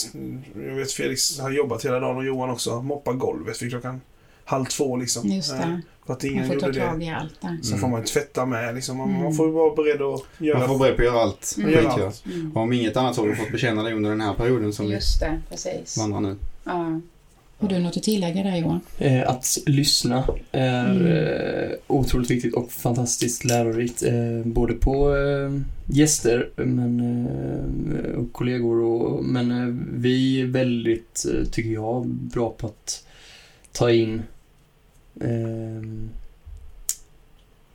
S1: Jag vet Felix har jobbat hela dagen och Johan också. Moppa golvet vid klockan halv två liksom.
S4: Just
S1: Eh,
S4: det,
S1: För att
S4: man
S1: ingen
S4: får
S1: gjorde
S4: ta tag
S1: det.
S4: i allt där.
S1: Sen
S3: Mm.
S1: får man ju tvätta med liksom. Man,
S4: Mm.
S1: man får ju vara beredd att göra...
S3: Man får vara beredd på att göra allt.
S4: Mm.
S3: Skit,
S1: göra
S3: ja.
S1: allt.
S4: Mm.
S3: Och om inget annat så har du fått bekänna dig under den här perioden som vi
S4: Just det, precis.
S3: vandrar nu.
S4: Ja. Har du något att tillägga där Johan?
S5: Eh, Att lyssna är
S4: Mm.
S5: eh, otroligt viktigt och fantastiskt lärorikt. eh, Både på eh, gäster men, eh, och kollegor. Och, men eh, vi är väldigt, eh, tycker jag, bra på att ta in eh,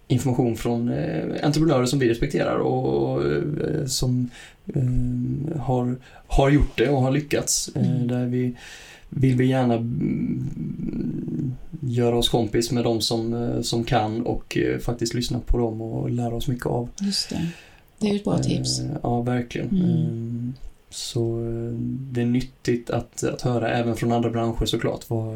S5: information från eh, entreprenörer som vi respekterar och eh, som eh, har, har gjort det och har lyckats. Eh,
S4: Mm.
S5: Där vi vill vi gärna mm, göra oss kompis med de som, eh, som kan och eh, faktiskt lyssna på dem och lära oss mycket av.
S4: Just det. Det är ju ett bra tips.
S5: Eh, Ja, verkligen.
S4: Mm.
S5: Eh, Så eh, det är nyttigt att, att höra även från andra branscher såklart vad,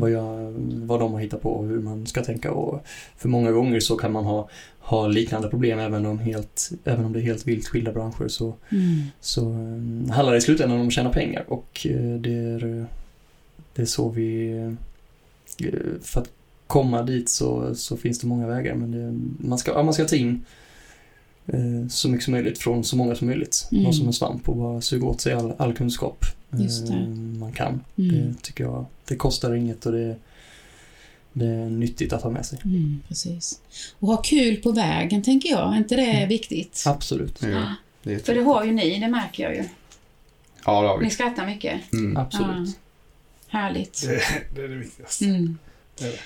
S5: vad,
S4: Mm.
S5: jag, vad de har hittat på och hur man ska tänka. Och för många gånger så kan man ha, ha liknande problem även om, helt, även om det är helt vilt skilda branscher. Så,
S4: Mm.
S5: så eh, handlar det i slutändan om att tjäna pengar och eh, det är, eh, det är så vi... eh, För att komma dit så, så finns det många vägar men det, man, ska, ja, man ska ta in eh, så mycket som möjligt från så många som möjligt.
S4: Mm.
S5: Vara som en svamp och bara suga åt sig all, all kunskap eh,
S4: Just det.
S5: man kan.
S4: Mm.
S5: Det tycker jag. Det kostar inget och det, det är nyttigt att ha med sig.
S4: Mm. Precis. Och ha kul på vägen tänker jag, är inte det
S5: Mm.
S4: viktigt?
S5: Absolut.
S3: Ja, det är
S4: För
S3: jätte-
S4: det har ju ni, det märker jag ju.
S3: ja, det har
S4: Ni
S3: vi.
S4: skrattar mycket.
S3: Mm.
S5: Absolut.
S4: Härligt.
S1: Det, det är det viktigaste.
S4: Mm.
S1: Det är det.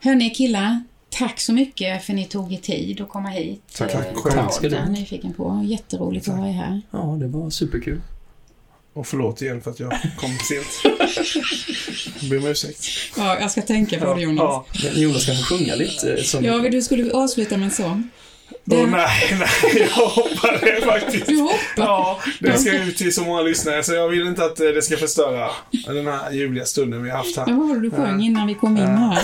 S4: Hörni killar, tack så mycket för ni tog er tid att komma hit.
S3: Tack.
S4: Eh,
S1: Tack
S4: till
S1: själv.
S5: Tack ska du
S4: podden.
S5: ha.
S4: nyfiken på. Jätteroligt att
S1: Tack.
S4: ha er här.
S5: Ja, det var superkul.
S1: Och förlåt igen för att jag kom sent. Jag ber om ursäkt.
S4: Ja, jag ska tänka på det Jonas.
S1: Ja.
S5: Men Jonas kan få sjunga lite. eh, Som,
S4: Ja, men du skulle avsluta med en sång.
S1: Åh
S4: Det-
S1: nej, nej, jag hoppade faktiskt.
S4: Du hoppar.
S1: Ja, det ska ut till så många lyssnare så jag vill inte att eh, det ska förstöra den här ljuvliga stunden vi har haft
S4: Ja,
S1: här.
S4: Vad var det du sjöng innan vi kom in här?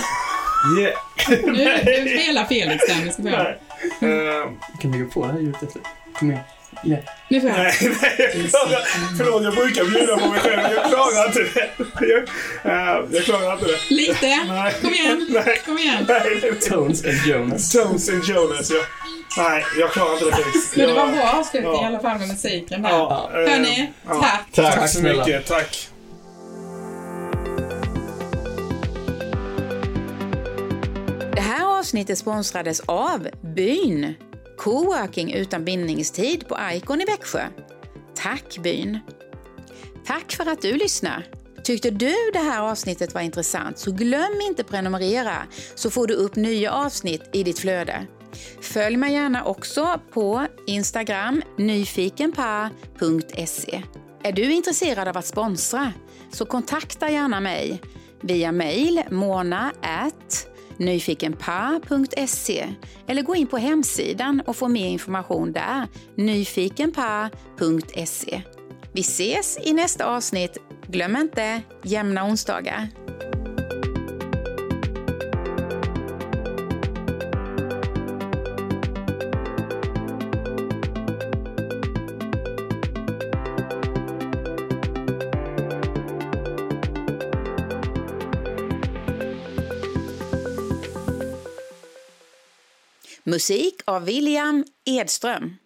S1: Yeah.
S4: Nu, nu spelar Felix den. Vi ska börja.
S1: Nej. Eh,
S5: Kan vi gå på det här ljudet efter? Kom igen. Yeah.
S4: Nu får jag.
S1: nej, nej, jag klarar- förlåt jag brukar bjuda på mig själv men jag klarar inte det. Jag, eh, jag klarar inte det.
S4: Lite.
S1: Nej.
S4: Kom igen.
S1: Nej.
S4: Kom igen.
S1: Nej, det är
S5: Tones and Jonas.
S1: Stones and Jonas, ja. Nej, jag klarar inte det Felix.
S4: Men det
S1: Jag-
S4: var bra avslutning
S1: Ja.
S4: i alla fall med musiken där.
S1: Ja, eh,
S4: Hörni,
S1: ja.
S4: tack.
S1: Tack så
S5: snälla.
S1: mycket, tack.
S6: Det här avsnittet sponsrades av Byn, coworking utan bindningstid på Icon i Växjö. Tack Byn! Tack för att du lyssnar! Tyckte du det här avsnittet var intressant så glöm inte prenumerera så får du upp nya avsnitt i ditt flöde. Följ mig gärna också på Instagram nyfikenpa.se. Är du intresserad av att sponsra så kontakta gärna mig via mejl mona at nyfikenpa.se eller gå in på hemsidan och få mer information där, nyfikenpa.se. Vi ses i nästa avsnitt. Glöm inte, jämna onsdagar. Musik av William Edström.